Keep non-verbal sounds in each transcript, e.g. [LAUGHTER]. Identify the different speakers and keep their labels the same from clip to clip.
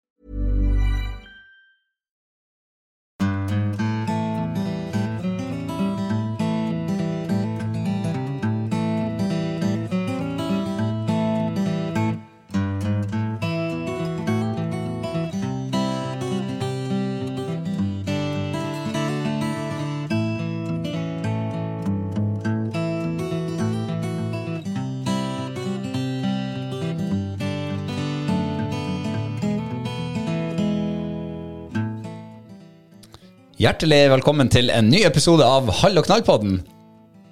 Speaker 1: Hjertelig velkommen til en ny episode av Hall og knall-podden.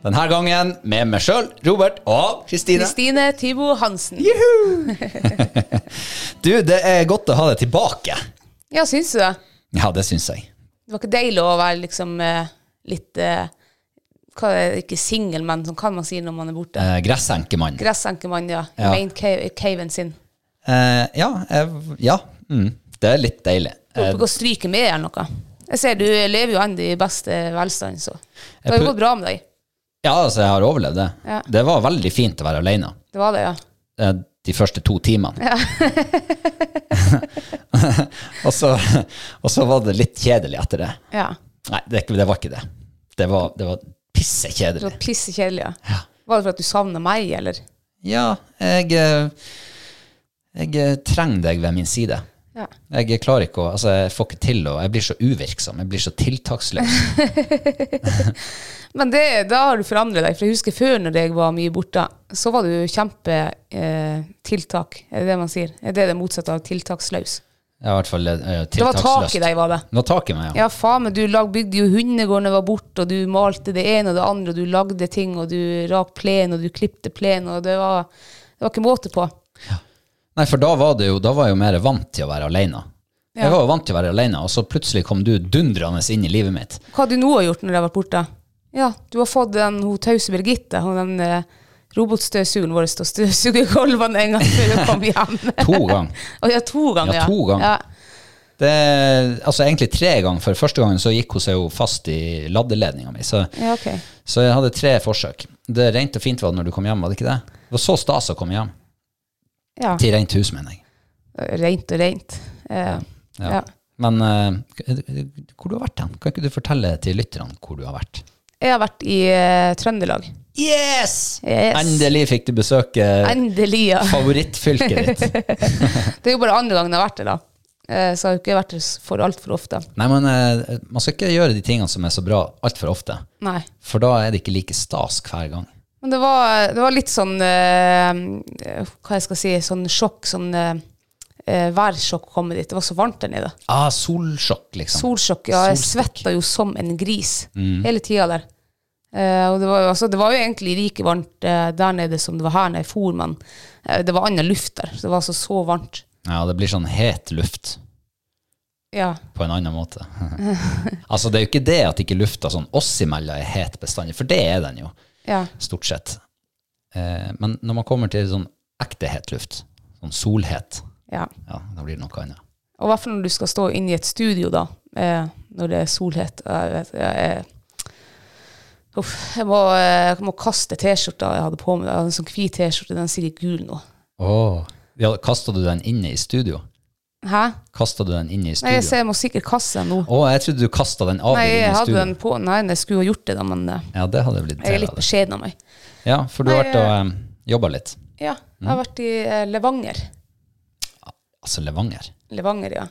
Speaker 1: Denne gangen med meg sjøl, Robert og Kristine.
Speaker 2: Kristine Tybo Hansen.
Speaker 1: Du, det er godt å ha deg tilbake.
Speaker 2: Ja, syns du det?
Speaker 1: Ja, det syns jeg.
Speaker 2: Det var ikke deilig å være liksom eh, litt eh, hva er det, Ikke singel, men sånn kan man si når man er borte.
Speaker 1: Eh, Gressenkemann.
Speaker 2: Gressenkemann, ja. I
Speaker 1: Ja.
Speaker 2: main cave, caven sin.
Speaker 1: Eh, ja, eh, ja. Mm, det er litt deilig.
Speaker 2: Håper
Speaker 1: Eh,
Speaker 2: ikke å stryke med eller noe. Jeg ser du lever jo ennå i beste velstand, så det har
Speaker 1: Jeg
Speaker 2: jo
Speaker 1: prøv-
Speaker 2: gått bra med deg.
Speaker 1: ja, altså, jeg har overlevd det.
Speaker 2: Ja.
Speaker 1: Det var veldig fint å være aleine
Speaker 2: Det var det, ja.
Speaker 1: eh, de første to timene. [LAUGHS] og, så, og så var det litt kjedelig etter det.
Speaker 2: ja.
Speaker 1: Nei, det, er ikke- det var ikke det. Det var, det var
Speaker 2: Det
Speaker 1: pissekjedelig.
Speaker 2: var pissekjedelig, ja. Var det for at du savna meg, eller?
Speaker 1: Ja, jeg, eh, jeg eh, trenger deg ved min side.
Speaker 2: Ja.
Speaker 1: Jeg klarer ikke å altså Jeg får ikke til å Jeg blir så uvirksom. Jeg blir så tiltaksløs.
Speaker 2: Men det, da har du forandret deg, for jeg husker før når jeg var mye borte, så var du kjempetiltak, eh, tiltak, er det det man sier? Er det det motsatte av tiltaksløs?
Speaker 1: Jeg er i hvert fall eh, tiltaksløs.
Speaker 2: Det var tak i deg, var det?
Speaker 1: Det var tak i meg, ja.
Speaker 2: Ja, faen, men du lag, bygde jo hundegård når jeg var borte, og du malte det ene og det andre, og du lagde ting, og du rak plen, og du klippte plen, og det var, det var ikke måte på.
Speaker 1: Nei, for da var, det jo, da var jeg jo mer vant til å være aleine. Jeg var jo vant til å være aleine, og så plutselig kom du dundrende inn i livet mitt.
Speaker 2: Hva har du nå gjort når jeg har vært borte? Ja, du har fått den hun tause Birgitte, hun den eh, robotstøvsugeren vår til å støvsuge gulvene en gang før hun kom hjem. [LAUGHS]
Speaker 1: To ganger.
Speaker 2: Å ja, to ganger,
Speaker 1: Ja,
Speaker 2: ja.
Speaker 1: to ganger.
Speaker 2: Ja.
Speaker 1: Det, altså egentlig tre ganger, for første gangen så gikk hun seg jo fast i laddeledninga mi. Så
Speaker 2: Ja, ok.
Speaker 1: Så jeg hadde tre forsøk. Det rent og fint var det når du kom hjem, var det ikke det? Det var så stas å komme hjem.
Speaker 2: Ja.
Speaker 1: Til rent hus, mener jeg.
Speaker 2: Rent og rent. Eh,
Speaker 1: Ja.
Speaker 2: ja.
Speaker 1: Men eh, hvor du har vært hen? Kan ikke du fortelle til lytterne hvor du har vært?
Speaker 2: Jeg har vært i eh, Trøndelag.
Speaker 1: Yes!
Speaker 2: Yes.
Speaker 1: Endelig fikk du besøke
Speaker 2: [LAUGHS] Endelig, ja.
Speaker 1: favorittfylket ditt.
Speaker 2: Det er jo bare andre gangen jeg har vært der, da. Eh, så jeg har jo ikke vært der for altfor ofte.
Speaker 1: Nei, men eh, man skal ikke gjøre de tingene som er så bra altfor ofte.
Speaker 2: Nei.
Speaker 1: For da er det ikke like stas hver gang.
Speaker 2: Men det var, det var litt sånn eh, Hva jeg skal si, sånn sjokk, sånn eh, eh, værsjokk å komme dit. Det var så varmt der nede.
Speaker 1: Ah, solsjokk, liksom.
Speaker 2: Solsjokk. Ja, jeg
Speaker 1: Solstikk.
Speaker 2: svetta jo som en gris
Speaker 1: Mm.
Speaker 2: hele tida der. Eh, og det var, jo- altså, det var jo egentlig like varmt eh, der nede som det var her når jeg for, men eh, det var annen luft der. Så det var altså så varmt.
Speaker 1: Ja, det blir sånn het luft.
Speaker 2: Ja.
Speaker 1: på en annen måte. [LAUGHS] altså, det er jo ikke det at ikke lufta sånn oss imellom er het bestandig, for det er den jo,
Speaker 2: ja.
Speaker 1: stort sett. Eh, men når man kommer til sånn ekte het luft, sånn solhet,
Speaker 2: Ja.
Speaker 1: Ja, da blir det noe annet.
Speaker 2: Og i hvert fall når du skal stå inne i et studio, da, eh, når det er solhett. og Jeg, vet, jeg, jeg, uff, jeg, må, eh, jeg må kaste T-skjorta jeg hadde på meg. Jeg hadde en sånn hvit T-skjorte, den er sikkert gul nå.
Speaker 1: Oh. Ja, Kasta du den inne i studio?
Speaker 2: Hæ?
Speaker 1: Kasta du den inne i
Speaker 2: Nei,
Speaker 1: studio?
Speaker 2: jeg ser jeg må sikkert kaste den nå.
Speaker 1: Å, jeg trodde du kasta den av
Speaker 2: Nei,
Speaker 1: deg
Speaker 2: jeg
Speaker 1: inne i
Speaker 2: hadde
Speaker 1: studio.
Speaker 2: den på Nei, jeg skulle ha gjort det, da, men eh,
Speaker 1: Ja, det hadde blitt
Speaker 2: jeg er
Speaker 1: del
Speaker 2: litt
Speaker 1: av det.
Speaker 2: beskjeden av meg.
Speaker 1: Ja, for du har vært og um, jobba litt.
Speaker 2: Ja, jeg har vært i eh, Levanger.
Speaker 1: Altså Levanger.
Speaker 2: Levanger, ja.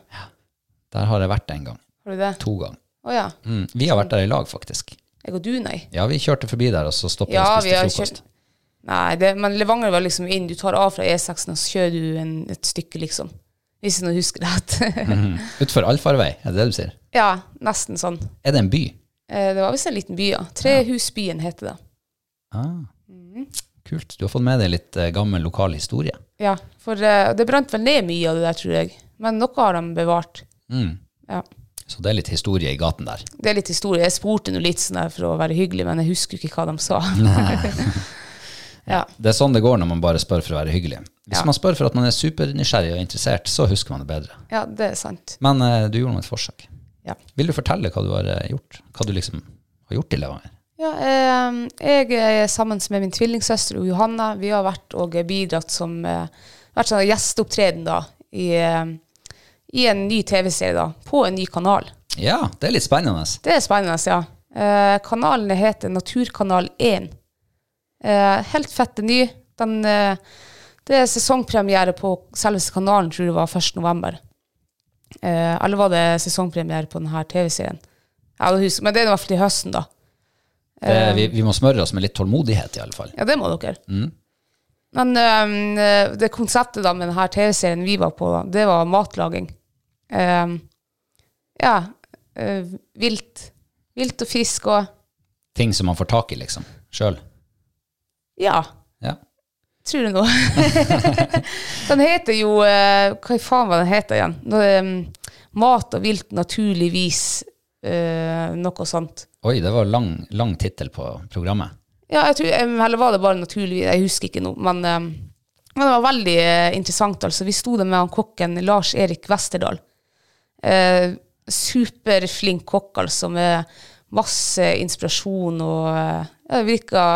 Speaker 1: Der har jeg vært en gang.
Speaker 2: Har du det?
Speaker 1: To ganger.
Speaker 2: Å ja.
Speaker 1: Mm. Vi har vært der i lag, faktisk.
Speaker 2: Jeg og du, nei.
Speaker 1: Ja, vi kjørte forbi der, og så stoppet vi
Speaker 2: Ja,
Speaker 1: og
Speaker 2: vi
Speaker 1: spiste
Speaker 2: har
Speaker 1: frokost.
Speaker 2: kjørt Nei, det, men Levanger var liksom inn. Du tar av fra E6-en, og så kjører du en, et stykke, liksom. Hvis jeg nå husker [LAUGHS] rett.
Speaker 1: Mm. Mhm. Utfor allfarvei, er det det du sier?
Speaker 2: ja, nesten sånn.
Speaker 1: Er det en by?
Speaker 2: Eh, Det var visst en liten by, ja. Trehusbyen heter det.
Speaker 1: Ah.
Speaker 2: Mhm.
Speaker 1: Kult. Du har fått med deg litt eh, gammel lokal historie.
Speaker 2: Ja, for eh, det brant vel ned mye av det der, tror jeg. Men noe har de bevart. Ja.
Speaker 1: Så det er litt historie i gaten der.
Speaker 2: Det er litt historie. Jeg spurte nå litt sånn der for å være hyggelig, men jeg husker ikke hva de sa. [LAUGHS] ja.
Speaker 1: Det er sånn det går når man bare spør for å være hyggelig. Hvis
Speaker 2: Ja.
Speaker 1: man spør for at man er supernysgjerrig og interessert, så husker man det bedre.
Speaker 2: ja, det er sant.
Speaker 1: Men eh, du gjorde nå et forsøk.
Speaker 2: Ja.
Speaker 1: Vil du fortelle hva du har eh, gjort? Hva du liksom har gjort i Levanger?
Speaker 2: Ja, eh, jeg er sammen med min tvillingsøster og Johanna. Vi har vært og bidratt som eh, vært sånn gjesteopptreden da, i, eh, i en ny TV-serie da, på en ny kanal.
Speaker 1: Ja, det er litt spennende.
Speaker 2: Det er spennende, ja. Eh, kanalen heter Naturkanal 1. Eh, helt fette ny. Den, eh, det er sesongpremiere på selveste kanalen, tror jeg det var 1. november. Eh, eller var det sesongpremiere på denne TV-serien? Ja, det husker- Men det er i hvert fall til høsten, da.
Speaker 1: Det, vi, vi må smøre oss med litt tålmodighet, i alle fall.
Speaker 2: Ja, det må dere. Men øhm, øh, det konseptet da med denne TV-serien vi var på, da, det var matlaging. Ehm, ja. øh, vilt. Vilt og fisk og
Speaker 1: Ting som man får tak i, liksom. Sjøl.
Speaker 2: Ja,
Speaker 1: Ja.
Speaker 2: tror du nå. [LAUGHS] den heter jo øh, Hva i faen var den heter igjen? Nå, øhm, mat og vilt naturligvis. øh, noe sånt.
Speaker 1: Oi, det var lang, lang tittel på programmet.
Speaker 2: Ja, jeg tror, em, eller var det bare naturlig, jeg husker ikke nå, men, em, men det var veldig eh, interessant. altså. Vi sto der med han kokken Lars-Erik Westerdal. Eh, superflink kokk, altså, med masse inspirasjon og eh, ja, det, virka,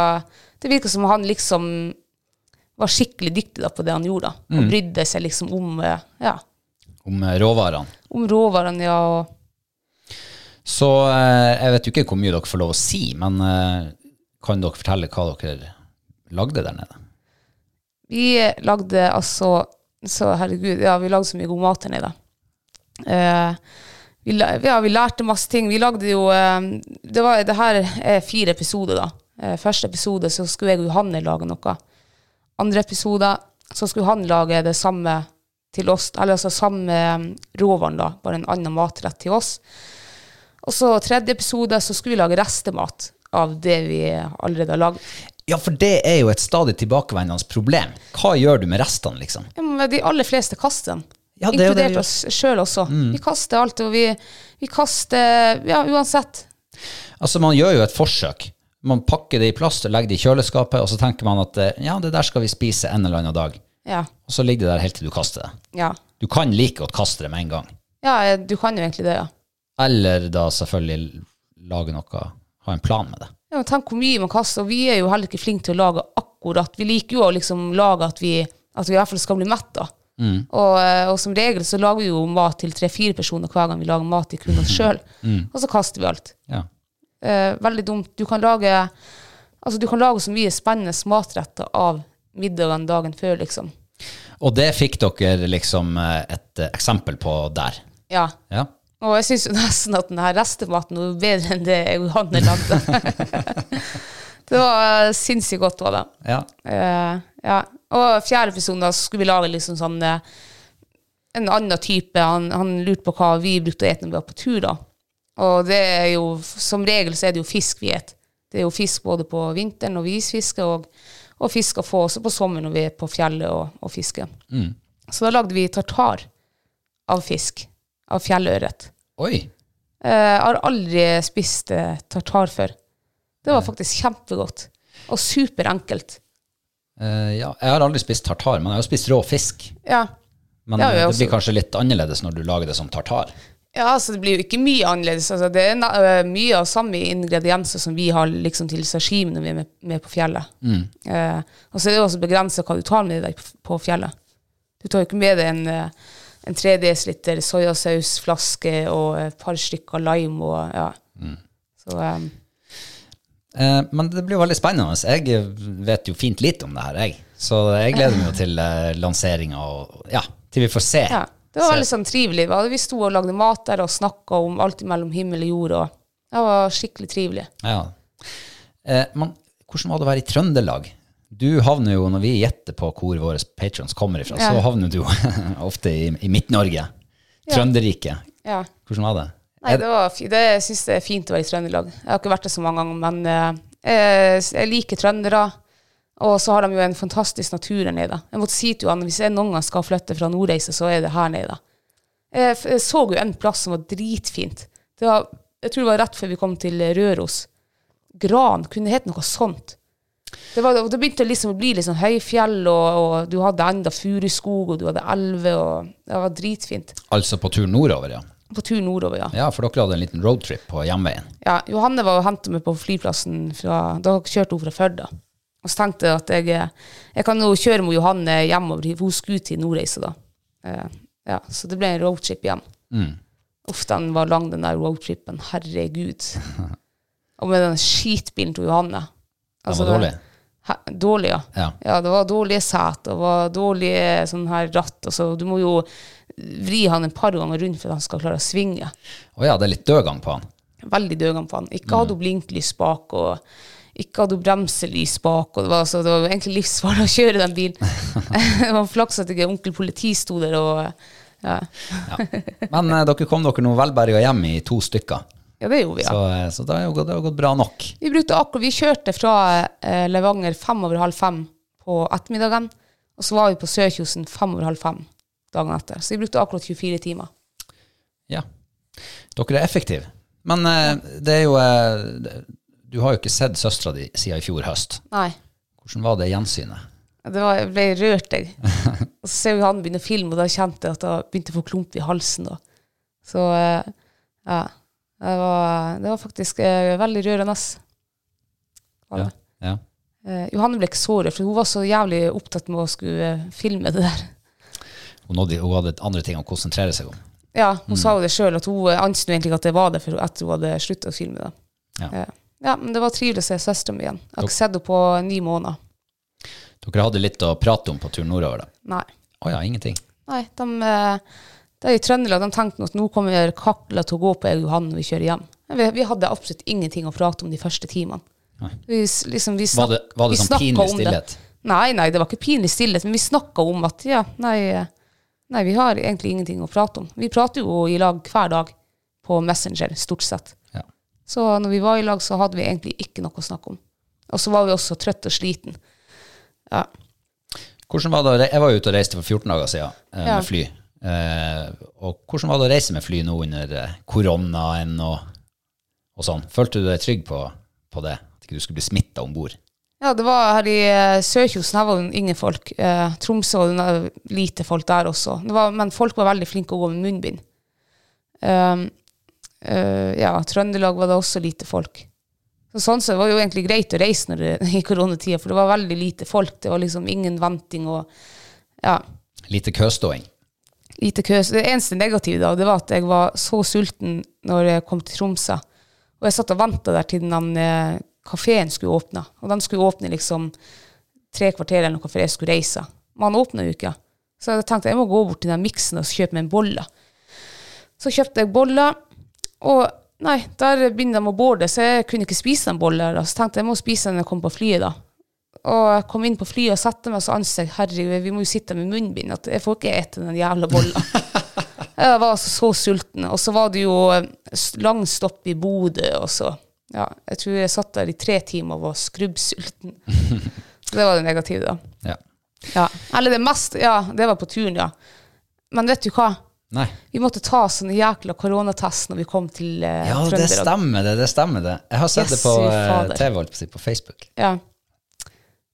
Speaker 2: det virka som han liksom var skikkelig dyktig da, på det han gjorde. da. Og brydde seg liksom om, eh, ja,
Speaker 1: Om eh, råvarene.
Speaker 2: om råvarene, ja, og
Speaker 1: Så eh, jeg vet jo ikke hvor mye dere får lov å si, men eh, kan dere fortelle hva dere lagde der nede?
Speaker 2: Vi lagde altså Så herregud, ja, vi lagde så mye god mat her nede. Eh, vi, la- ja, vi lærte masse ting. Vi lagde jo eh, Det, var, det her er fire episoder, da. Eh, første episode så skulle jeg og Johanne lage noe. Andre episode så skulle han lage det samme til oss, eller altså samme eh, råvaren, da, bare en annen matrett til oss. Og så tredje episode så skulle vi lage restemat av det vi allerede har lagd.
Speaker 1: Ja, for det er jo et stadig tilbakevendende problem. Hva gjør du med restene, liksom?
Speaker 2: Ja, men de aller fleste kaster den.
Speaker 1: Ja, det er jo det vi gjør.
Speaker 2: Inkludert
Speaker 1: Mm.
Speaker 2: oss sjøl også. Vi kaster alt, og vi, vi kaster Ja, uansett.
Speaker 1: Altså, man gjør jo et forsøk. Man pakker det i plast og legger det i kjøleskapet, og så tenker man at eh, ja, det der skal vi spise en eller annen dag.
Speaker 2: Ja.
Speaker 1: Og så ligger det der helt til du kaster det.
Speaker 2: Ja,
Speaker 1: Du kan like godt kaste det med en gang.
Speaker 2: ja eh, du kan jo egentlig det, ja.
Speaker 1: Eller da selvfølgelig lage noe, ha en plan med det.
Speaker 2: ja men tenk hvor mye man kaster, og vi er jo heller ikke flinke til å lage akkurat Vi liker jo å liksom lage at vi, at vi i hvert fall skal bli metta.
Speaker 1: Mm.
Speaker 2: Og, eh, og som regel så lager vi jo mat til tre-fire personer hver gang vi lager mat til kun oss
Speaker 1: [LAUGHS]
Speaker 2: sjøl.
Speaker 1: Mm.
Speaker 2: Og så kaster vi alt.
Speaker 1: Ja.
Speaker 2: Eh, veldig dumt. Du kan lage Altså, du kan lage så mye spennende matretter av middagen dagen før, liksom.
Speaker 1: Og det fikk dere liksom eh, et eh, eksempel på der.
Speaker 2: Ja.
Speaker 1: Ja.
Speaker 2: Og jeg syns [LAUGHS] nesten at denne restematen var bedre enn det jeg og Johanne lagde. det var eh, sinnssykt godt, var det.
Speaker 1: ja.
Speaker 2: Eh, ja. Og fjerde episode da, så skulle vi lage liksom sånn eh, en annen type. Han, han lurte på hva vi brukte å ete når vi var på tur, da. Og det er jo, som regel så er det jo fisk vi et. Det er jo fisk både på vinteren når vi isfisker, og, og fisk å få også på sommeren når vi er på fjellet og, og fisker. Så da lagde vi tartar av fisk. Av fjellørret.
Speaker 1: Oi.
Speaker 2: Eh, Jeg har aldri spist eh, tartar før. Det var faktisk kjempegodt. Og superenkelt.
Speaker 1: Eh, ja, jeg har aldri spist tartar, men jeg har jo spist rå fisk.
Speaker 2: Ja.
Speaker 1: Men
Speaker 2: Det har vi
Speaker 1: eh, det
Speaker 2: også.
Speaker 1: blir kanskje litt annerledes når du lager det som tartar.
Speaker 2: Ja, så det blir jo ikke mye annerledes. Altså, det er na- øh, mye av samme ingredienser som vi har liksom, til sashimi når vi er med, med på fjellet. Eh, og så er det jo også begrenset hva du tar med deg på- på fjellet. Du tar jo ikke med deg en, eh, en 3 dl soyasausflaske og et par stykker lime og ja. Så eh,
Speaker 1: Eh, men det blir jo veldig spennende. Jeg vet jo fint lite om det her, jeg. Så jeg gleder meg jo til eh, lanseringa og ja, til vi får se.
Speaker 2: ja. Det var
Speaker 1: Se.
Speaker 2: veldig sånn trivelig. hva? Vi sto og lagde mat der og snakka om alt mellom himmel og jord. Og det var skikkelig trivelig.
Speaker 1: Ja. Eh, men hvordan var det å være i Trøndelag? Du havner jo, når vi gjetter på hvor våre patrons kommer ifra,
Speaker 2: Ja.
Speaker 1: så havner du [LAUGHS] ofte i, i Midt-Norge. Trønderriket.
Speaker 2: Ja.
Speaker 1: Hvordan var det?
Speaker 2: Nei, det var fi- det, jeg syns det er fint å være i Trøndelag. Jeg har ikke vært det så mange ganger, men eh, eh, s- jeg liker trøndere. Og så har de jo en fantastisk natur her nede. Jeg måtte si til han, Hvis jeg noen gang skal flytte fra Nordreisa, så er det her nede. Jeg, f- jeg så jo en plass som var dritfint. Det var, jeg tror det var rett før vi kom til eh, Røros. Gran kunne det hete noe sånt. Det, var, og det begynte liksom å bli litt sånn høyfjell, og, og du hadde enda furuskog, og du hadde elver, og det var dritfint.
Speaker 1: Altså på tur nordover, ja.
Speaker 2: På tur nordover, ja.
Speaker 1: Ja, for dere hadde en liten roadtrip på hjemveien.
Speaker 2: Ja, Johanne var og hentet meg på flyplassen. Fra, da kjørte hun fra Førda. Og så tenkte jeg at jeg, eh, jeg kan jo kjøre med Johanne hjemover, for hun skulle til Nordreisa da. Eh, ja, så det ble en roadtrip hjem.
Speaker 1: Mm,
Speaker 2: Uff, den var lang, den der roadtripen.
Speaker 1: [LAUGHS]
Speaker 2: Herregud. Og med den skitbilen til Johanne.
Speaker 1: Den
Speaker 2: Altså,
Speaker 1: var dårlig.
Speaker 2: Hæ, dårlig, ja.
Speaker 1: Ja.
Speaker 2: det var dårlige set, og var dårlige sånn her ratt. Og så du må jo vri han et par ganger rundt for at han skal klare å svinge
Speaker 1: Å ja, det er litt dødgang på han.
Speaker 2: veldig døgene på han. Ikke hadde hun blinklys bak, og ikke hadde hun bremselys bak. Og det, var, så det var jo egentlig livsfarlig [LAUGHS] å kjøre den bilen. det var flaks at ikke onkel politi sto der og ja.
Speaker 1: Men eh, dere kom dere nå velberga hjem i to stykker,
Speaker 2: ja, det gjorde vi,
Speaker 1: så,
Speaker 2: ja.
Speaker 1: eh, så det har jo gått, det har gått bra nok.
Speaker 2: Vi, brukte akkurat, vi kjørte fra eh, Levanger fem over halv fem på ettermiddagen, og så var vi på Sørkjosen fem over halv fem dagen etter. Så vi brukte akkurat 24 timer.
Speaker 1: Ja. Dere er effektive. Men eh, det er jo eh, det- Du har jo ikke sett søstera di siden i fjor høst.
Speaker 2: Nei.
Speaker 1: Hvordan var det gjensynet?
Speaker 2: Det var, jeg ble rørt, jeg. Og så ser vi han begynne å filme, og da kjente jeg at jeg begynte å få klump i halsen. Da. Så eh, ja. Det var, det var faktisk eh, veldig rørende. ass. Var det.
Speaker 1: Ja.
Speaker 2: Eh, Johanne ble ikke så rørt, for hun var så jævlig opptatt med å skulle eh, filme det der.
Speaker 1: Hun, nådde, hun hadde andre ting å konsentrere seg om.
Speaker 2: Ja, hun sa jo det sjøl, at hun eh, ante nå egentlig ikke at det var det for etter hun hadde sluttet å filme. det.
Speaker 1: Ja.
Speaker 2: Eh, ja, men det var trivelig å se søstera mi igjen. Jeg har
Speaker 1: Dok-
Speaker 2: ikke sett henne på ni måneder.
Speaker 1: Dere hadde litt å prate om på tur nordover. da.
Speaker 2: Nei.
Speaker 1: Å ja, ingenting.
Speaker 2: Nei, de, eh, de i Trøndelag de tenkte at nå kommer kakla til å gå på jeg og Johan når vi kjører hjem. Men Vi, vi hadde absolutt ingenting å prate om de første timene. Vi, s- liksom, vi
Speaker 1: Var det, var det
Speaker 2: vi
Speaker 1: sånn
Speaker 2: snakket
Speaker 1: pinlig
Speaker 2: om
Speaker 1: stillhet?
Speaker 2: Det. Nei, nei, det var ikke pinlig stillhet, men vi snakka om at ja, nei, eh, nei, vi har egentlig ingenting å prate om. Vi prater jo i lag hver dag på Messenger, stort sett.
Speaker 1: Ja.
Speaker 2: Så når vi var i lag, så hadde vi egentlig ikke noe å snakke om. Og så var vi også trøtt og sliten. Ja.
Speaker 1: Hvordan var det, å re- jeg var jo ute og reiste for 14 dager siden eh,
Speaker 2: Ja.
Speaker 1: med fly. Eh, og hvordan var det å reise med fly nå under eh, koronaen og, og sånn? Følte du deg trygg på, på det? At ikke du skulle bli smitta om bord?
Speaker 2: Ja, det var her i eh, Sørkjosen, her var det ingen folk. Eh, Tromsø var det na- lite folk der også. Det var, men folk var veldig flinke å gå med munnbind. Um, eh, ja, Trøndelag var det også lite folk. Så sånn så var det jo egentlig greit å reise når det, [LAUGHS] i koronatida, for det var veldig lite folk. Det var liksom ingen venting og ja,
Speaker 1: Lite køståing.
Speaker 2: lite kø. Så det eneste negative da, det var at jeg var så sulten når jeg kom til Tromsø. Og jeg satt og venta der til den eh, kafeen skulle åpne. Og den skulle åpne liksom tre kvarter eller noe før jeg skulle reise. Men han åpna jo ikke. Så jeg tenkte jeg må gå bort til den miksen og kjøpe meg en bolle. Så kjøpte jeg boller, og nei, der begynner de å borde, så jeg kunne ikke spise den bollen. Da. Så tenkte jeg jeg må spise den når jeg kom på flyet, da. Og jeg kom inn på flyet og satte meg, og så anså jeg herregud, vi må jo sitte med munnbind. At jeg får ikke ete den jævla
Speaker 1: [LAUGHS]
Speaker 2: bolla. jeg var altså så sulten. Og så var det jo eh, s- lang stopp i Bodø, og så ja, Jeg tror jeg satt der i tre timer og var skrubbsulten. Så det var det negative, da.
Speaker 1: Ja.
Speaker 2: Ja. Eller det mest Ja, det var på turen, ja. Men vet du hva?
Speaker 1: Nei.
Speaker 2: Vi måtte ta sånne jækla koronatest når vi kom til eh,
Speaker 1: Ja, det stemmer det. det stemmer det. Jeg har sett det
Speaker 2: Jesu
Speaker 1: på eh,
Speaker 2: fader.
Speaker 1: TV holdt på å si, på Facebook.
Speaker 2: Ja.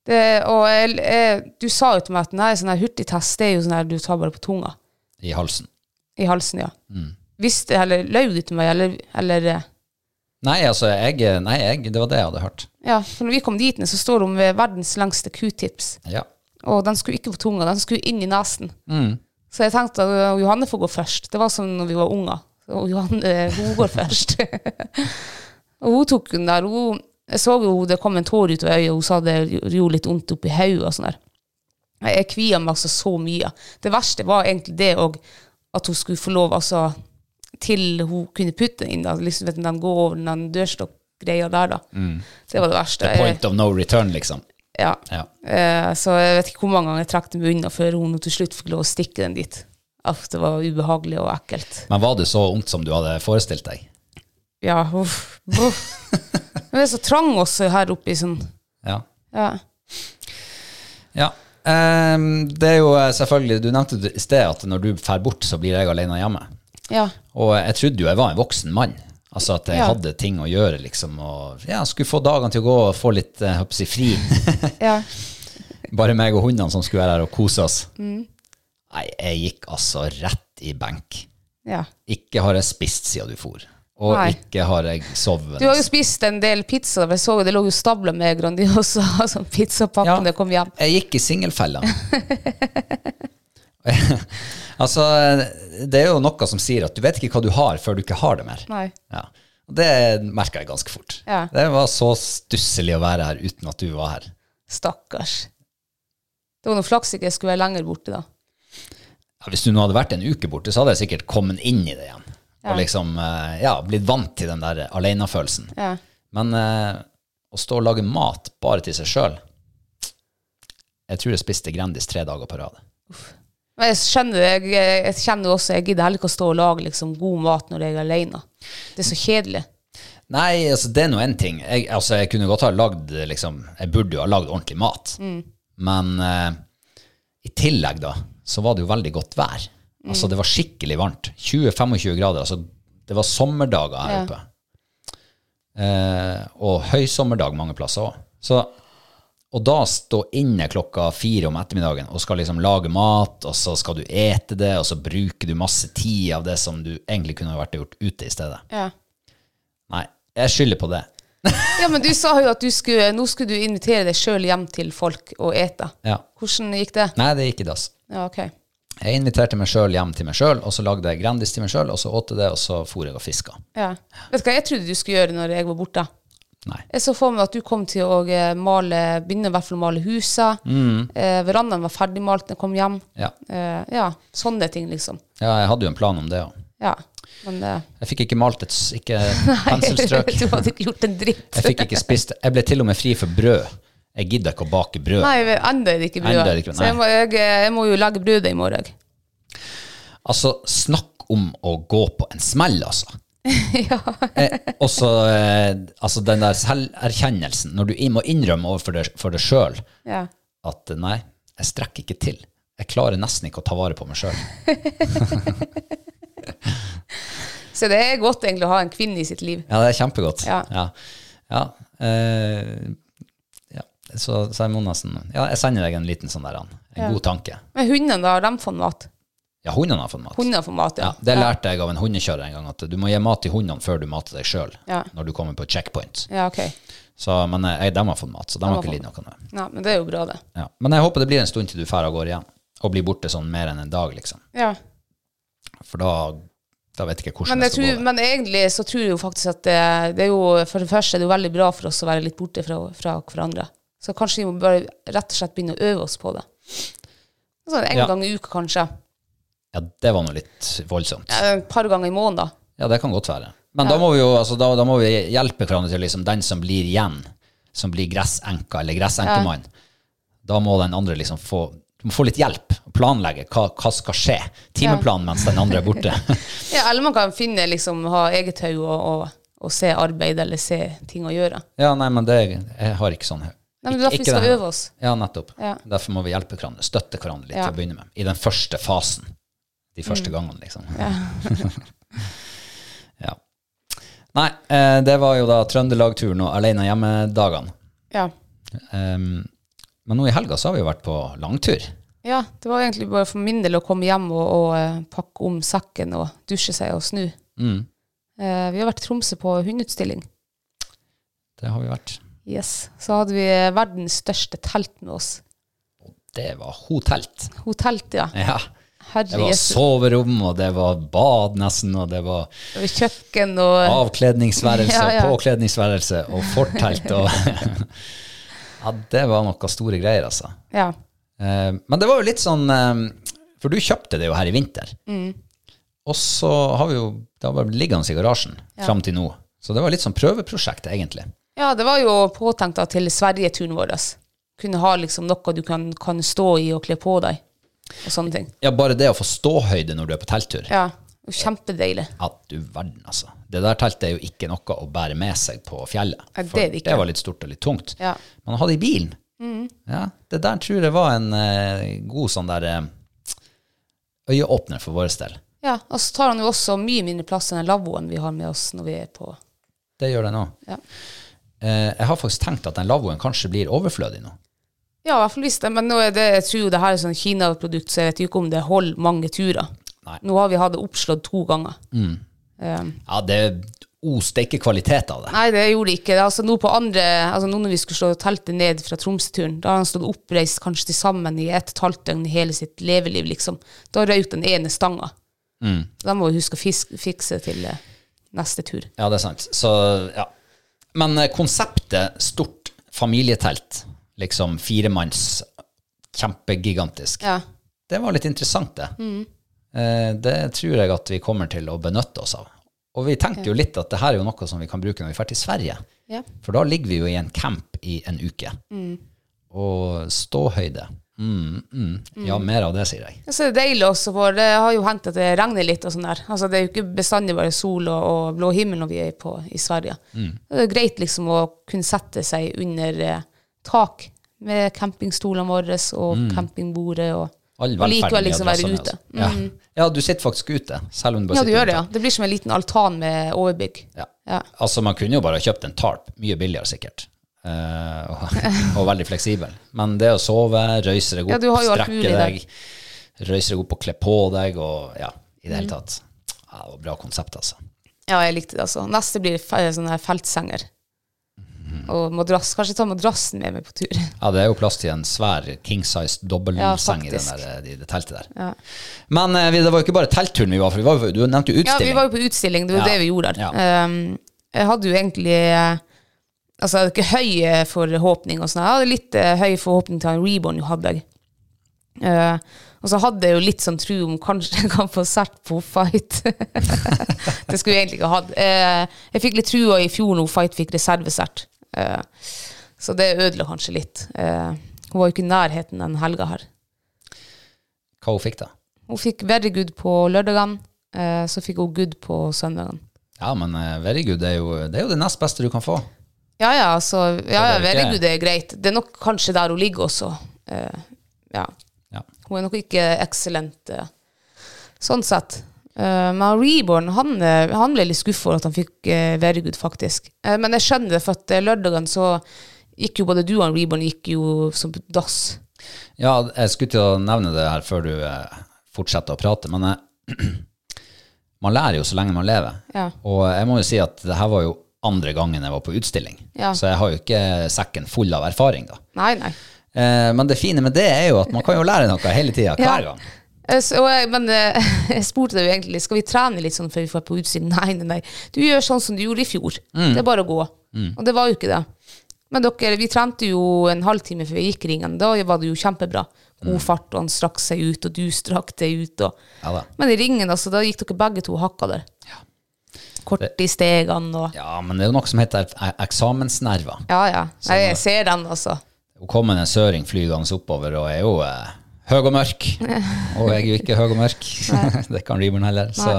Speaker 2: Det, og jeg, jeg, du sa jo til meg at nei, sånn her hurtigtest det er jo sånn her du tar bare på tunga.
Speaker 1: i halsen.
Speaker 2: I halsen, ja. Visste, eller løy du til meg, eller, eller eh,
Speaker 1: Nei, altså, jeg, nei jeg, det var det jeg hadde hørt.
Speaker 2: Ja, for når vi kom dit, ned, så står hun med verdens lengste q-tips.
Speaker 1: Ja.
Speaker 2: Og den skulle ikke på tunga, den skulle inn i nesen. Så jeg tenkte at øh, Johanne får gå først. Det var som når vi var unger. Og Johanne, øh, hun går først. [LAUGHS] og hun tok den der. Hun, jeg så jo det kom en tår ut av øyet, og hun sa det gjorde litt vondt oppi hodet og sånn der. Jeg kvia meg altså så mye. Det verste var egentlig det òg, at hun skulle få lov altså, til hun kunne putte den inn. Da. Liksom, vet du, den går over den dørstokkgreia der, da. Det var det verste.
Speaker 1: Point of no return, liksom.
Speaker 2: Ja.
Speaker 1: Ja.
Speaker 2: Eh, så jeg vet ikke hvor mange ganger jeg trakk dem unna før hun til slutt fikk lov å stikke den dit. Uff, det var ubehagelig og ekkelt.
Speaker 1: Men var det så ondt som du hadde forestilt deg?
Speaker 2: Ja, uff.
Speaker 1: [LAUGHS]
Speaker 2: uff. Men det er så trang også her oppe i sånn
Speaker 1: Ja.
Speaker 2: ja.
Speaker 1: Ja. Ehm, det er jo eh, selvfølgelig Du nevnte det i sted at når du drar bort, så blir jeg alene hjemme.
Speaker 2: ja.
Speaker 1: Og jeg trodde jo jeg var en voksen mann. Altså at jeg
Speaker 2: Ja.
Speaker 1: hadde ting å gjøre, liksom. Og ja, skulle få dagene til å gå og få litt eh, håper jeg, fri.
Speaker 2: ja.
Speaker 1: Bare meg og hundene som skulle være her og kose oss.
Speaker 2: Mm.
Speaker 1: Nei, jeg gikk altså rett i benk.
Speaker 2: ja.
Speaker 1: Ikke har jeg spist siden du for. Og
Speaker 2: Nei.
Speaker 1: ikke har jeg sovet.
Speaker 2: Du har jo spist en del pizza. for Jeg så jo det lå jo stabla med Grandiosa [LAUGHS] sånn pizzapakke
Speaker 1: Ja.
Speaker 2: da jeg kom hjem.
Speaker 1: Jeg gikk i
Speaker 2: [LAUGHS]
Speaker 1: singelfella. [LAUGHS] altså, det er jo noe som sier at du vet ikke hva du har før du ikke har det mer.
Speaker 2: Nei.
Speaker 1: Ja. Og det merka jeg ganske fort.
Speaker 2: Ja.
Speaker 1: Det var så stusslig å være her uten at du var her.
Speaker 2: Stakkars. Det var noe flaks ikke jeg skulle være lenger borte da.
Speaker 1: Ja, hvis du nå hadde vært en uke borte, så hadde jeg sikkert kommet inn i det igjen.
Speaker 2: Ja.
Speaker 1: Og liksom eh, ja, blitt vant til den der alenefølelsen.
Speaker 2: Ja.
Speaker 1: Men eh, å stå og lage mat bare til seg sjøl Jeg tror jeg spiste Grandis tre dager på rad.
Speaker 2: Men jeg skjønner det. Jeg, jeg kjenner jo også jeg gidder heller ikke å stå og lage liksom, god mat når jeg er alene. Det er så kjedelig.
Speaker 1: Nei, altså, det er nå én ting. Jeg, altså, jeg kunne godt ha lagd liksom, Jeg burde jo ha lagd ordentlig mat. Men eh, i tillegg, da, så var det jo veldig godt vær. Altså, det var skikkelig varmt. 20-25 grader. Altså, det var sommerdager her
Speaker 2: Ja.
Speaker 1: oppe. Eh, og høysommerdag mange plasser òg. Så og da stå inne klokka fire om ettermiddagen og skal liksom lage mat, og så skal du ete det, og så bruker du masse tid av det som du egentlig kunne ha vært gjort ute i stedet.
Speaker 2: Ja.
Speaker 1: Nei, jeg skylder på det.
Speaker 2: men du sa jo at du skulle, nå skulle du invitere deg sjøl hjem til folk og ete.
Speaker 1: Ja.
Speaker 2: Hvordan gikk det?
Speaker 1: Nei, det gikk i dass.
Speaker 2: Ja, ok.
Speaker 1: Jeg inviterte meg sjøl hjem til meg sjøl, og så lagde jeg Grandis til meg sjøl, og så åt jeg det, og så for jeg og fiska.
Speaker 2: Ja. Vet du hva jeg trodde du skulle gjøre når jeg var borte?
Speaker 1: Nei.
Speaker 2: Jeg så for meg at du kom til å eh, male, begynne i hvert fall å male huset.
Speaker 1: Mm.
Speaker 2: Eh, verandaen var ferdigmalt da jeg kom hjem.
Speaker 1: Ja.
Speaker 2: Eh, ja, sånne ting, liksom.
Speaker 1: ja, jeg hadde jo en plan om det òg.
Speaker 2: Ja. Men eh, [LAUGHS]
Speaker 1: Jeg fikk ikke malt et s- ikke penselstrøk.
Speaker 2: du hadde ikke gjort en dritt.
Speaker 1: Jeg fikk
Speaker 2: [LAUGHS]
Speaker 1: ikke spist Jeg ble til og med fri for brød. Jeg gidder ikke å bake brød.
Speaker 2: Nei, vi- enda er det ikke
Speaker 1: Enda er det
Speaker 2: brødet.
Speaker 1: ikke brød,
Speaker 2: Så jeg må, jeg, eh, jeg må jo lage brødet i morgen.
Speaker 1: Altså, snakk om å gå på en smell, altså. eh, og så eh, altså den der selverkjennelsen, når du i- må innrømme overfor deg- for deg sjøl
Speaker 2: Ja.
Speaker 1: at eh, nei, jeg strekker ikke til. Jeg klarer nesten ikke å ta vare på meg sjøl.
Speaker 2: Så det er godt egentlig å ha en kvinne i sitt liv.
Speaker 1: Ja, det er kjempegodt.
Speaker 2: Ja.
Speaker 1: Ja. Ja, eh, ja. Så, så jeg må nesten Ja, jeg sender deg en liten sånn der, Ann. en god tanke.
Speaker 2: Men hundene, da, har de fått mat?
Speaker 1: Ja, hundene har fått mat.
Speaker 2: Hundene får mat,
Speaker 1: Ja,
Speaker 2: ja.
Speaker 1: det lærte jeg av en hundekjører en gang, at du må gi mat til hundene før du mater deg sjøl,
Speaker 2: Ja.
Speaker 1: når du kommer på checkpoint.
Speaker 2: Ja, ok.
Speaker 1: Så, men eh, jeg, de har fått mat, så de, har
Speaker 2: har
Speaker 1: ikke
Speaker 2: fått
Speaker 1: lidd noe av det.
Speaker 2: Ja, men det er jo bra, det.
Speaker 1: Ja. Men jeg håper det blir en stund til du drar av gårde igjen, og blir borte sånn mer enn en dag, liksom.
Speaker 2: Ja.
Speaker 1: For da, da vet jeg ikke hvordan
Speaker 2: Men, jeg
Speaker 1: jeg skal
Speaker 2: tror,
Speaker 1: gå.
Speaker 2: men egentlig så tror jeg jo faktisk at det, det er jo For det første er det jo veldig bra for oss å være litt borte fra, fra hverandre. Så kanskje vi må bare rett og slett begynne å øve oss på det. Sånn en
Speaker 1: Ja.
Speaker 2: gang i uka, kanskje.
Speaker 1: Ja, det var nå litt voldsomt.
Speaker 2: Eh, Et par ganger i måneden, da.
Speaker 1: Ja, det kan godt være. Men da må vi jo altså, da, da må vi hjelpe hverandre til liksom, den som blir igjen, som blir gressenka eller gressenkemann. Da må den andre liksom få, du må få litt hjelp og planlegge hva, hva skal skje. Timeplanen mens den andre er
Speaker 2: [LAUGHS]
Speaker 1: borte.
Speaker 2: Ja, eller man kan finne liksom ha eget hode og, og, og se arbeid eller se ting å gjøre.
Speaker 1: ja, nei, men det, jeg har ikke sånn
Speaker 2: Nei, men det er derfor vi skal øve oss.
Speaker 1: Ja, nettopp.
Speaker 2: Ja.
Speaker 1: Derfor må vi hjelpe hverandre, støtte hverandre litt
Speaker 2: Ja.
Speaker 1: til å
Speaker 2: Mm.
Speaker 1: begynne med. I den første fasen. De første gangene, liksom. Ja. [LAUGHS] Nei, eh, det var jo da Trøndelag-turen og alene hjemme-dagene.
Speaker 2: Ja.
Speaker 1: Ehm, Men nå i helga så har vi jo vært på langtur.
Speaker 2: Ja, det var egentlig bare for min del å komme hjem og, og eh, pakke om sekken og dusje seg og snu.
Speaker 1: Mm.
Speaker 2: Eh, vi har vært i Tromsø på hundeutstilling.
Speaker 1: Det har vi vært.
Speaker 2: Yes. Så hadde vi verdens største telt med oss.
Speaker 1: Det var hotelt.
Speaker 2: Hotelt, ja.
Speaker 1: Ja. Det
Speaker 2: Herre
Speaker 1: var
Speaker 2: Jesu.
Speaker 1: soverom, og det var bad nesten, og det var
Speaker 2: Det var Kjøkken og
Speaker 1: avkledningsværelse,
Speaker 2: Ja, ja.
Speaker 1: påkledningsværelse og fortelt.
Speaker 2: [LAUGHS]
Speaker 1: Og [LAUGHS] ja, det var noe store greier, altså.
Speaker 2: Ja.
Speaker 1: Eh, Men det var jo litt sånn eh, For du kjøpte det jo her i vinter.
Speaker 2: Mm.
Speaker 1: Og så har vi jo Det har bare blitt liggende i garasjen fram til nå. Så det var litt sånn prøveprosjekt, egentlig.
Speaker 2: ja, det var jo påtenkt da til Sverige-turen vår. Kunne ha liksom noe du kan, kan stå i og kle på deg, og sånne ting.
Speaker 1: Ja, bare det å få ståhøyde når du er på telttur.
Speaker 2: Ja, og Kjempedeilig.
Speaker 1: Ja, du verden, altså. Det der teltet er jo ikke noe å bære med seg på fjellet.
Speaker 2: Ja, det
Speaker 1: For
Speaker 2: er det ikke.
Speaker 1: det var litt stort og litt tungt.
Speaker 2: Ja. Mm.
Speaker 1: Men å ha det i bilen, ja, det der tror jeg var en eh, god sånn der eh, øyeåpner for vår del.
Speaker 2: Ja, Og så tar han jo også mye mindre plass enn den lavvoen vi har med oss når vi er på
Speaker 1: Det gjør det nå.
Speaker 2: Ja.
Speaker 1: Eh, jeg har faktisk tenkt at den lavvoen kanskje blir overflødig nå.
Speaker 2: Ja, i hvert fall hvis det, men nå er det, jeg tror jo det her er sånn Kina-produkt, så jeg vet jo ikke om det holder mange turer.
Speaker 1: Nei.
Speaker 2: Nå har vi hatt det oppslått to ganger. Um,
Speaker 1: Ja, det oste ikke kvalitet av det.
Speaker 2: nei, det gjorde det ikke. Det er Altså, nå på andre, altså nå når vi skulle slå teltet ned fra Tromsø-turen, da har han stått oppreist kanskje til sammen i et og et halvt døgn i hele sitt leveliv, liksom. Da røyk den ene stanga. Da må vi huske å fisk, fikse til eh, neste tur.
Speaker 1: Ja, det er sant. Så, ja. Men eh, konseptet stort familietelt, liksom firemanns, kjempegigantisk,
Speaker 2: Ja.
Speaker 1: det var litt interessant, det.
Speaker 2: Mm.
Speaker 1: Eh, det tror jeg at vi kommer til å benytte oss av. Og vi tenkte jo litt at det her er jo noe som vi kan bruke når vi drar til Sverige.
Speaker 2: Ja.
Speaker 1: For da ligger vi jo i en camp i en uke.
Speaker 2: Mm.
Speaker 1: Og ståhøyde. Mm, mm. Ja, mer av det, sier jeg.
Speaker 2: Ja, så er det deilig også, for det har jo hendt at det regner litt og sånn der. Altså, det er jo ikke bestandig bare sol og, og blå himmel når vi er på, i Sverige.
Speaker 1: Mm.
Speaker 2: Det er greit liksom å kunne sette seg under eh, tak med campingstolene våre og campingbordet og,
Speaker 1: Mm. All
Speaker 2: og likevel
Speaker 1: velferden i adressa
Speaker 2: liksom være
Speaker 1: med
Speaker 2: ute. Mm.
Speaker 1: oss. Ja. ja, du sitter faktisk ute, selv om du bare
Speaker 2: Ja, du
Speaker 1: sitter
Speaker 2: gjør det,
Speaker 1: ute.
Speaker 2: ja. Det blir som en liten altan med overbygg.
Speaker 1: Ja.
Speaker 2: Ja.
Speaker 1: Altså, man kunne jo bare ha kjøpt en tarp, mye billigere sikkert, eh, og, [LAUGHS] og veldig fleksibel. Men det å sove, røyse deg
Speaker 2: Ja,
Speaker 1: opp,
Speaker 2: du har jo alt mulig
Speaker 1: strekke
Speaker 2: der.
Speaker 1: deg, røyse deg opp og kle på deg, og ja, i
Speaker 2: Mm.
Speaker 1: det hele tatt. Ja, det var bra konsept, altså.
Speaker 2: Ja, jeg likte det, altså. Neste blir fe- sånne her feltsenger.
Speaker 1: Mm.
Speaker 2: Og madrass. Kanskje ta madrassen med meg på tur.
Speaker 1: Ja, det er jo plass til en svær king-sized
Speaker 2: Ja,
Speaker 1: dobbeltseng i, den
Speaker 2: faktisk.
Speaker 1: der, eh, i det teltet der. Men eh, vi- det var jo ikke bare teltturen vi var, for vi var, jo- du nevnte jo
Speaker 2: Ja, vi
Speaker 1: utstilling.
Speaker 2: var jo på utstilling, det var
Speaker 1: Ja.
Speaker 2: det vi gjorde der.
Speaker 1: Ja.
Speaker 2: Ehm, jeg hadde jo egentlig eh, Altså, jeg hadde ikke høy eh, forhåpning og sånn. Jeg hadde litt eh, høy forhåpning til han Reborn, jo hadde jeg. Eh, og så hadde jeg jo litt sånn tro om kanskje jeg kan få sett på Fight. [LAUGHS] det skulle jeg egentlig ikke hatt. Eh, jeg fikk litt trua i fjor når Fight fikk reservesert. Eh, så det ødela kanskje litt. Eh, hun var jo ikke i nærheten den helga her.
Speaker 1: Hva hun fikk da?
Speaker 2: Hun fikk very good på lørdagen, eh, så fikk hun good på søndagen.
Speaker 1: Ja, men eh, very good, det er, jo, det er jo det nest beste du kan få.
Speaker 2: Ja, ja, altså, ja, ja
Speaker 1: det er ikke-
Speaker 2: Veregud er greit. Det er nok kanskje der hun ligger også. Eh, ja.
Speaker 1: Ja.
Speaker 2: Hun er nok ikke eksellent eh, sånn sett. Eh, men Reborn han, eh, han ble litt skuffa over at han fikk uh, Veregud, faktisk. Eh, men jeg skjønner det, for at eh, lørdagen så gikk jo både du og han Reborn gikk jo som på dass.
Speaker 1: Ja, jeg skulle til å nevne det her før du eh, fortsetter å prate, men eh, [CLEARS THROAT] man lærer jo så lenge man lever.
Speaker 2: Ja.
Speaker 1: Og jeg må jo si at det her var jo andre gangen jeg var på utstilling,
Speaker 2: Ja.
Speaker 1: så jeg har jo ikke sekken full av erfaring da.
Speaker 2: Nei, nei.
Speaker 1: Eh, men det fine med det er jo at man kan jo lære noe hele tida, hver gang.
Speaker 2: Eh, Så, og jeg, men eh, [LAUGHS] jeg spurte deg jo egentlig Skal vi trene litt sånn før vi får på utsiden. [LAUGHS] Nei, nei, nei. Du gjør sånn som du gjorde i fjor. Det er bare å gå. Og det var jo ikke det. Men dere, vi trente jo en halvtime før vi gikk ringen. Da var det jo kjempebra. God fart, og han strakk seg ut, og du strakk deg ut. Og.
Speaker 1: Ja da.
Speaker 2: Men i ringen, altså, da gikk dere begge to hakka der. Kort i stegene og
Speaker 1: Ja, men det er jo noe som heter eh, eksamensnerver.
Speaker 2: Ja, ja. Nei, jeg ser den, altså.
Speaker 1: Hun kom en søring flygende oppover og er jo eh, høy og mørk.
Speaker 2: [LAUGHS]
Speaker 1: Og jeg er jo ikke høy og mørk. [LAUGHS] det kan Reborn heller. Så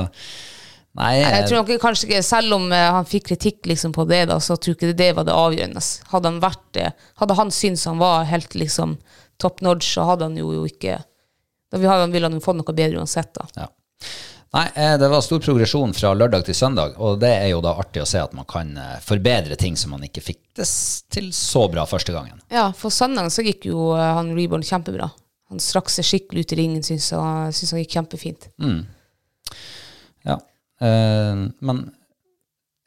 Speaker 1: nei, eh,
Speaker 2: Jeg tror nok kanskje ikke, Selv om eh, han fikk kritikk liksom, på det, da, så tror jeg ikke det var det avgjørende. Hadde han vært det, hadde han syntes han var helt liksom, top notch, så hadde han jo, jo ikke da vil- hadde han- ville han jo fått noe bedre uansett. da.
Speaker 1: Ja. Nei, eh, det var stor progresjon fra lørdag til søndag, og det er jo da artig å se at man kan eh, forbedre ting som man ikke fikk det s- til så bra første gangen.
Speaker 2: Ja, for søndag så gikk jo eh, han Reborn kjempebra. Han strakk seg skikkelig ut i ringen, syns han, syns han gikk kjempefint.
Speaker 1: Ja. Eh, men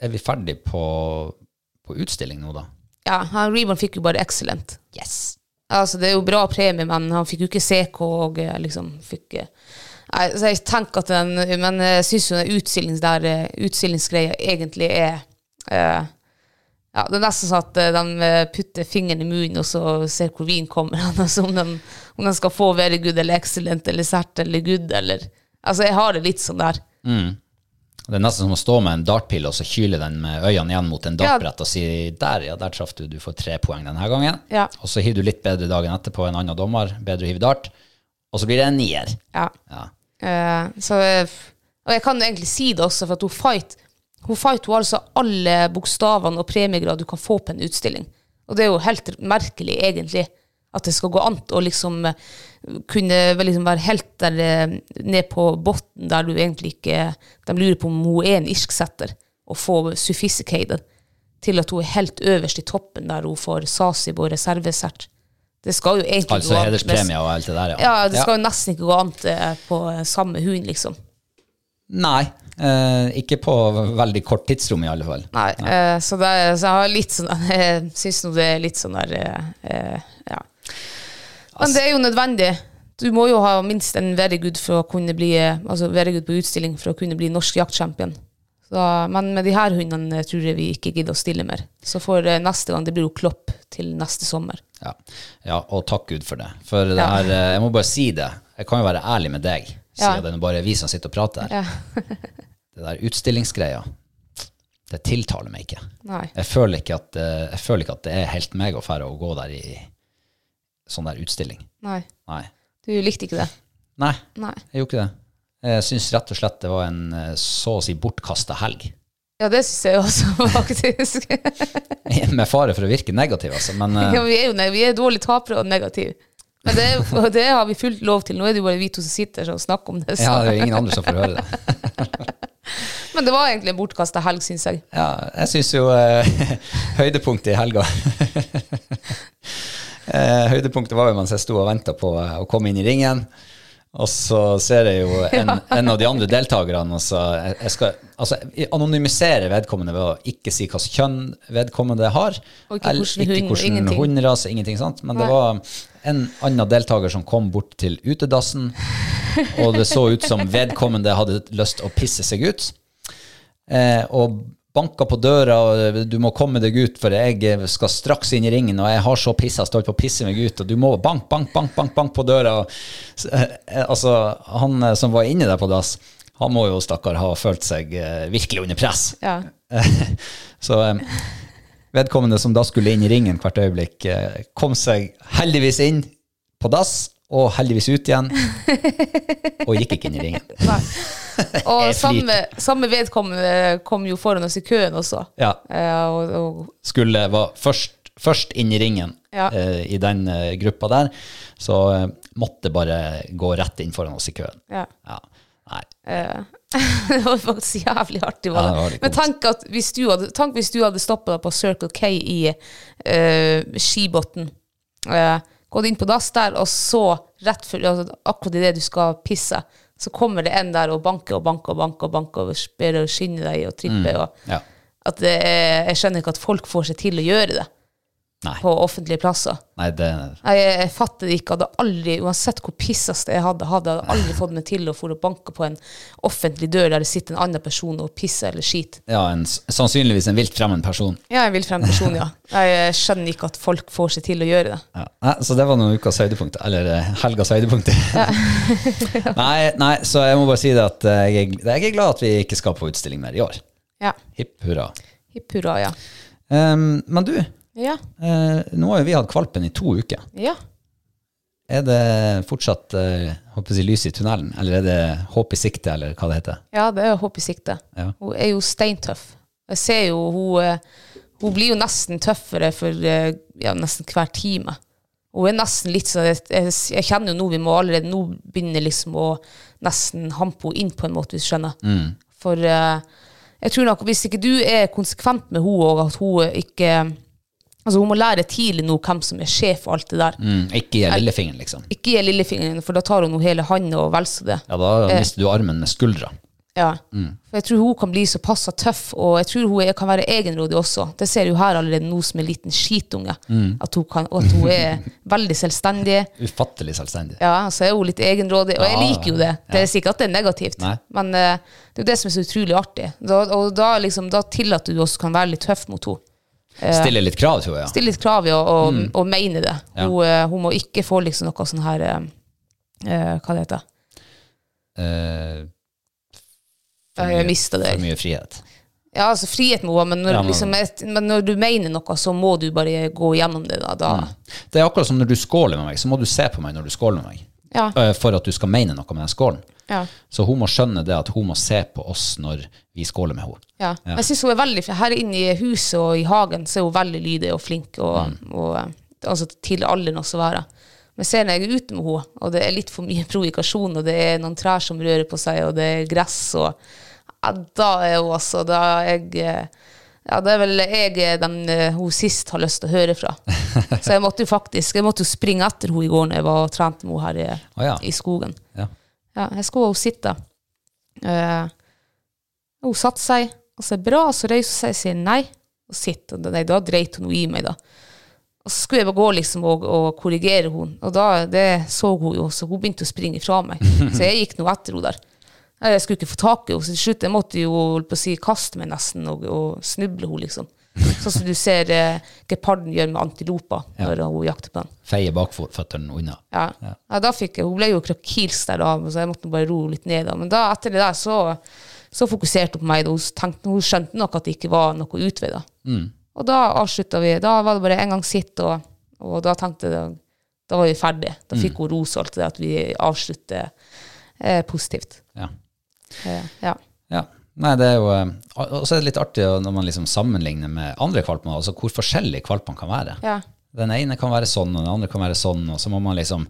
Speaker 1: er vi ferdig på, på utstilling nå, da?
Speaker 2: Ja, han Reborn fikk jo bare excellent.
Speaker 1: Yes.
Speaker 2: Altså, det er jo bra premie, men han fikk jo ikke CK og eh, liksom fikk eh, Nei, så jeg tenker at den Men jeg syns jo den utstillings der, eh, utstillingsgreia egentlig er eh, ja, Det er nesten sånn at eh, de eh, putter fingeren i munnen og så ser hvor vinen kommer. [LAUGHS] Altså, om, den, om den skal få very good eller excellent eller cert eller good eller Altså, jeg har det litt sånn der.
Speaker 1: Det er nesten som å stå med en dartpil og så kyle den med øynene igjen mot en
Speaker 2: Ja.
Speaker 1: dartbrett og si der, ja, der traff du, du får tre poeng denne gangen.
Speaker 2: Ja.
Speaker 1: Og så hiver du litt bedre dagen etterpå en annen dommer, bedre å hive dart, og så blir det en nier.
Speaker 2: Ja.
Speaker 1: Ja.
Speaker 2: Eh, så, eh, og jeg kan jo egentlig si det også, for at hun fight Hun fight hun har altså alle bokstavene og premiegrad du kan få på en utstilling. Og det er jo helt merkelig, egentlig, at det skal gå an å liksom eh, kunne vel liksom være helt der eh, ned på bunnen, der du egentlig ikke De lurer på om hun er en irsksetter, og få sophisticated til at hun er helt øverst i toppen, der hun får sasib og reservesert. Det skal jo egentlig
Speaker 1: Altså
Speaker 2: an, men-
Speaker 1: hederspremie og alt det der, ja.
Speaker 2: ja, det skal jo nesten ikke gå an til på samme hund, liksom.
Speaker 1: Nei, eh, ikke på veldig kort tidsrom i alle fall.
Speaker 2: Nei, eh, så, det, er- så jeg har litt sånn [LAUGHS] Jeg syns nå det er litt sånn der eh, eh, Ja. Men det er jo nødvendig. Du må jo ha minst en very good for å kunne bli eh, Altså very good på utstilling for å kunne bli norsk jaktchampion. Så, men med de her hundene eh, tror jeg vi ikke gidder å stille mer. Så for eh, neste gang, det blir jo Klopp til neste sommer.
Speaker 1: Ja. ja, og takk Gud for det. For det
Speaker 2: Ja.
Speaker 1: her, eh, jeg må bare si det. Jeg kan jo være ærlig med deg,
Speaker 2: Ja.
Speaker 1: siden det er bare vi som sitter og prater her.
Speaker 2: Ja.
Speaker 1: Det der utstillingsgreia, det tiltaler meg ikke.
Speaker 2: Nei.
Speaker 1: Jeg føler ikke at, eh, jeg føler ikke at det er helt meg å fære å gå der i sånn der utstilling.
Speaker 2: Nei.
Speaker 1: Nei.
Speaker 2: Du likte ikke det?
Speaker 1: Nei,
Speaker 2: Nei.
Speaker 1: jeg gjorde ikke det. Jeg syns rett og slett det var en eh, så å si bortkasta helg. [LAUGHS]
Speaker 2: Ja, det syns jeg også, [LAUGHS] faktisk.
Speaker 1: Med fare for å virke negativ, altså. Men eh,
Speaker 2: Ja, vi er [LAUGHS] jo ne- vi er dårlige tapere og negative. Men det, er- og det har vi fullt lov til. Nå er det jo bare vi to som sitter og snakker om det. Så.
Speaker 1: ja, det er jo ingen andre som får høre det.
Speaker 2: Men det var egentlig en bortkasta helg, syns jeg.
Speaker 1: Ja, jeg syns jo eh, [LAUGHS] høydepunktet i helga [LAUGHS] eh, Høydepunktet var jo mens jeg sto og venta på eh, å komme inn i ringen. Og så ser jeg
Speaker 2: [LAUGHS]
Speaker 1: jo en, en av de andre deltakerne og så jeg, jeg skal, altså, jeg anonymisere vedkommende ved å ikke si hva slags kjønn vedkommende har.
Speaker 2: Og ikke
Speaker 1: eller
Speaker 2: hvordan hund,
Speaker 1: ikke hvordan
Speaker 2: ingenting.
Speaker 1: hunderase, ingenting sant? Men det
Speaker 2: Nei.
Speaker 1: var en annen deltaker som kom bort til utedassen, og det så ut som vedkommende hadde lyst å pisse seg ut. Eh, og banka på døra, og eh, du må komme deg ut, for jeg eh, skal straks inn i ringen, og jeg har så pissa, jeg står på å pisse meg ut, og du må bank, bank, bank, bank, bank på døra. Og, s- eh, altså, han eh, som var inni der på dass, han må jo, stakkar, ha følt seg eh, virkelig under press.
Speaker 2: Ja.
Speaker 1: Så eh, vedkommende som da skulle inn i ringen hvert øyeblikk, eh, kom seg heldigvis inn på dass, og heldigvis ut igjen, og gikk ikke inn i ringen.
Speaker 2: Og
Speaker 1: [LAUGHS] Jeg
Speaker 2: samme, samme vedkommende kom jo foran oss i køen også.
Speaker 1: Ja.
Speaker 2: Eh, og, og,
Speaker 1: skulle var først, først inn i ringen
Speaker 2: Ja.
Speaker 1: eh, i den eh, gruppa der, så eh, måtte bare gå rett inn foran oss i køen.
Speaker 2: ja.
Speaker 1: Ja. Nei.
Speaker 2: Eh, [LAUGHS] det var faktisk jævlig artig. Var
Speaker 1: Ja,
Speaker 2: det.
Speaker 1: det var litt
Speaker 2: Men tenk, at hvis du hadde, tenk hvis du hadde stoppa deg på Circle K i eh, Skibotn. eh, gått inn på dass der, og så, rett før, altså, akkurat idet du skal pisse, så kommer det en der og banker og banker og banker og banker og spør og skinner deg og tripper. Og,
Speaker 1: Ja.
Speaker 2: at det er, jeg skjønner ikke at folk får seg til å gjøre det
Speaker 1: Nei.
Speaker 2: på offentlige plasser.
Speaker 1: Nei, det
Speaker 2: Nei, Jeg, jeg fatter det ikke. Hadde aldri, uansett hvor pissete jeg hadde, hadde jeg aldri fått meg til å få banke på en offentlig dør der det sitter en annen person og pisser eller skiter.
Speaker 1: ja, en, s- sannsynligvis en vilt fremmed person.
Speaker 2: Ja, en vill frem person, ja. [LAUGHS] Nei, Jeg skjønner ikke at folk får seg til å gjøre det.
Speaker 1: Ja. Nei, så det var noen ukas høydepunkt, eller eh, helgas høydepunkt. [LAUGHS] nei, nei, så jeg må bare si det at eh, jeg, er- jeg er glad at vi ikke skal på utstilling mer i år.
Speaker 2: Ja.
Speaker 1: Hipp hurra.
Speaker 2: Hipp hurra, ja.
Speaker 1: Em, men du,
Speaker 2: Ja.
Speaker 1: eh, nå har jo vi hatt kvalpen i to uker.
Speaker 2: ja.
Speaker 1: Er det fortsatt eh, håper jeg, lys i tunnelen, eller er det håp i sikte, eller hva det heter?
Speaker 2: Ja, det er håp i sikte.
Speaker 1: Ja.
Speaker 2: Hun er jo steintøff. Jeg ser jo hun eh, Hun blir jo nesten tøffere for eh, ja, nesten hver time. Hun er nesten litt sånn Jeg, jeg, jeg kjenner jo nå vi må allerede Nå begynner liksom å nesten hampe henne inn, på en måte, hvis du skjønner.
Speaker 1: Mm.
Speaker 2: For eh, jeg tror nok hvis ikke du er konsekvent med henne, og at hun ikke Altså, hun må lære tidlig nå hvem som er sjef og alt det der.
Speaker 1: Mm, ikke gi lillefingeren, liksom.
Speaker 2: Ikke gi lillefingeren, for da tar hun jo hele handa og vel så det.
Speaker 1: Ja, da mister du armen med skuldra.
Speaker 2: Ja.
Speaker 1: Mm.
Speaker 2: For jeg tror hun kan bli så passa tøff, og jeg tror hun er, kan være egenrådig også. Det ser du her allerede nå som en liten skitunge,
Speaker 1: Mm.
Speaker 2: at, hun kan, og at hun
Speaker 1: [LAUGHS]
Speaker 2: er veldig selvstendig.
Speaker 1: Ufattelig selvstendig.
Speaker 2: Ja, så er hun litt egenrådig, og jeg
Speaker 1: Ja,
Speaker 2: liker jo det. Det er sikkert at det er negativt,
Speaker 1: Nei.
Speaker 2: men eh, det er jo det som er så utrolig artig. Da, og da, liksom, da tillater du også kan være litt tøff mot henne.
Speaker 1: Stille litt krav, tror jeg.
Speaker 2: Stille litt krav i å- og,
Speaker 1: Mm.
Speaker 2: og, mene det. Hun, eh, hun må ikke få liksom noe sånn her eh, eh, Hva det heter
Speaker 1: Eh,
Speaker 2: det? Jeg mista det.
Speaker 1: For mye frihet.
Speaker 2: Ja, altså frihet må hun ha, men, når-
Speaker 1: Ja, men-
Speaker 2: liksom, et- men når du mener noe, så må du bare gå gjennom det. Da.
Speaker 1: Mm.
Speaker 2: da.
Speaker 1: Det er akkurat som når du skåler med meg, så må du se på meg når du skåler med meg.
Speaker 2: Ja.
Speaker 1: Eh, For at du skal mene noe med den skålen.
Speaker 2: Ja.
Speaker 1: Så hun må skjønne det at hun må se på oss når vi skåler med henne.
Speaker 2: Ja. Men Jeg syns hun er veldig flink. Her inne i huset og i hagen så er hun veldig lydig og flink, og, og, eh, altså til alderen også være. Men ser når jeg er ute med henne, og det er litt for mye [LAUGHS] provokasjon, og det er noen trær som rører på seg, og det er gress, og ja, da er hun altså Da er jeg eh, Ja, det er vel jeg er den eh, hun sist har lyst til å høre fra. Så jeg måtte jo faktisk Jeg måtte jo springe etter henne i går når jeg var og trente med henne her i,
Speaker 1: Å ja.
Speaker 2: i skogen.
Speaker 1: Ja.
Speaker 2: Ja, jeg skulle hun sitte. Eh, hun satte seg, og så bra, og så reiste hun seg og sier nei, og sitt. Og da- nei, da dreit hun i meg, da. Og så skulle jeg bare gå liksom og, og korrigere henne, og da, det så hun jo, så hun begynte å springe
Speaker 1: [LAUGHS]
Speaker 2: fra meg. Så jeg gikk nå etter henne der. Nei, Jeg skulle ikke få tak i henne, så til slutt jeg måtte jo holdt på å si, kaste meg nesten og, og snuble henne, liksom. Sånn som du ser eh, geparden gjør med antiloper når hun jakter på den.
Speaker 1: Feie bakføttene unna.
Speaker 2: Ja. ja. da fikk jeg, Hun ble jo krakilsk der da, så jeg måtte bare roe litt ned. da. Men da, etter det der så, så fokuserte hun på meg. Da. Hun, tenkte, hun skjønte nok at det ikke var noe utvei. da. Og da avslutta vi. Da var det bare en gang sitt, og, og da tenkte jeg da, da var vi ferdige. Da fikk hun ros og alt det der, at vi avslutter eh, positivt.
Speaker 1: Ja.
Speaker 2: Eh, ja.
Speaker 1: Ja. Nei, det er jo eh, Og og så er det litt artig å- når man liksom sammenligner med andre kvalper, altså hvor forskjellige kvalpene kan være.
Speaker 2: Ja.
Speaker 1: Den ene kan være sånn, og den andre kan være sånn, og så må man liksom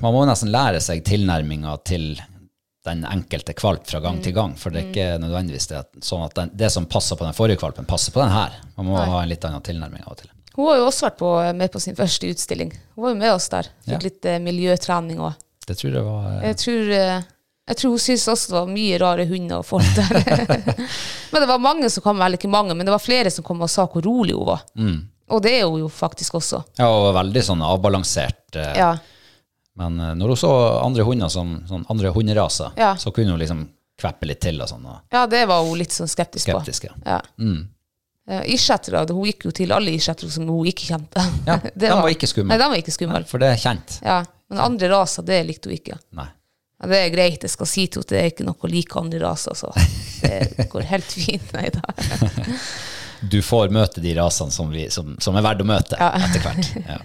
Speaker 1: Man må nesten lære seg tilnærminga til den enkelte kvalp fra gang
Speaker 2: Mm.
Speaker 1: til gang, for det er ikke nødvendigvis det, at- sånn at den, det som passer på den forrige kvalpen, passer på den her. Man må ha en litt annen tilnærming av og til.
Speaker 2: Hun har jo også vært på, med på sin første utstilling. Hun var jo med oss der. Fikk
Speaker 1: Ja.
Speaker 2: litt eh, miljøtrening òg.
Speaker 1: Det tror jeg var eh,
Speaker 2: Jeg tror, eh, jeg tror hun syntes også det var mye rare hunder og folk der.
Speaker 1: [LAUGHS]
Speaker 2: men det var mange som kom, eller ikke mange, men det var flere som kom og sa hvor rolig hun var.
Speaker 1: Mm.
Speaker 2: Og det er hun jo faktisk også.
Speaker 1: Ja, og veldig sånn avbalansert. eh,
Speaker 2: Ja,
Speaker 1: Men eh, når hun så andre hunder som sånn andre hunderaser,
Speaker 2: Ja.
Speaker 1: så kunne hun liksom kveppe litt til og sånn, og
Speaker 2: ja det var hun litt sånn skeptisk,
Speaker 1: skeptisk. Mm. Ja.
Speaker 2: på. Ja. Eh, Isjetere, da, hun gikk jo til alle isjetere som hun ikke kjente.
Speaker 1: Ja,
Speaker 2: [LAUGHS] Det
Speaker 1: den var ikke skummel.
Speaker 2: Nei, den var ikke skummel.
Speaker 1: For det er kjent.
Speaker 2: Ja, men andre raser, det likte hun ikke.
Speaker 1: Nei.
Speaker 2: Ja, det er greit, jeg skal si til henne at det er ikke noe å like andre
Speaker 1: [LAUGHS]
Speaker 2: raser, så det går helt fint. Nei da.
Speaker 1: Du får møte de rasene som, vi, som, som er verdt å møte etter
Speaker 2: [LAUGHS]
Speaker 1: hvert. Ja.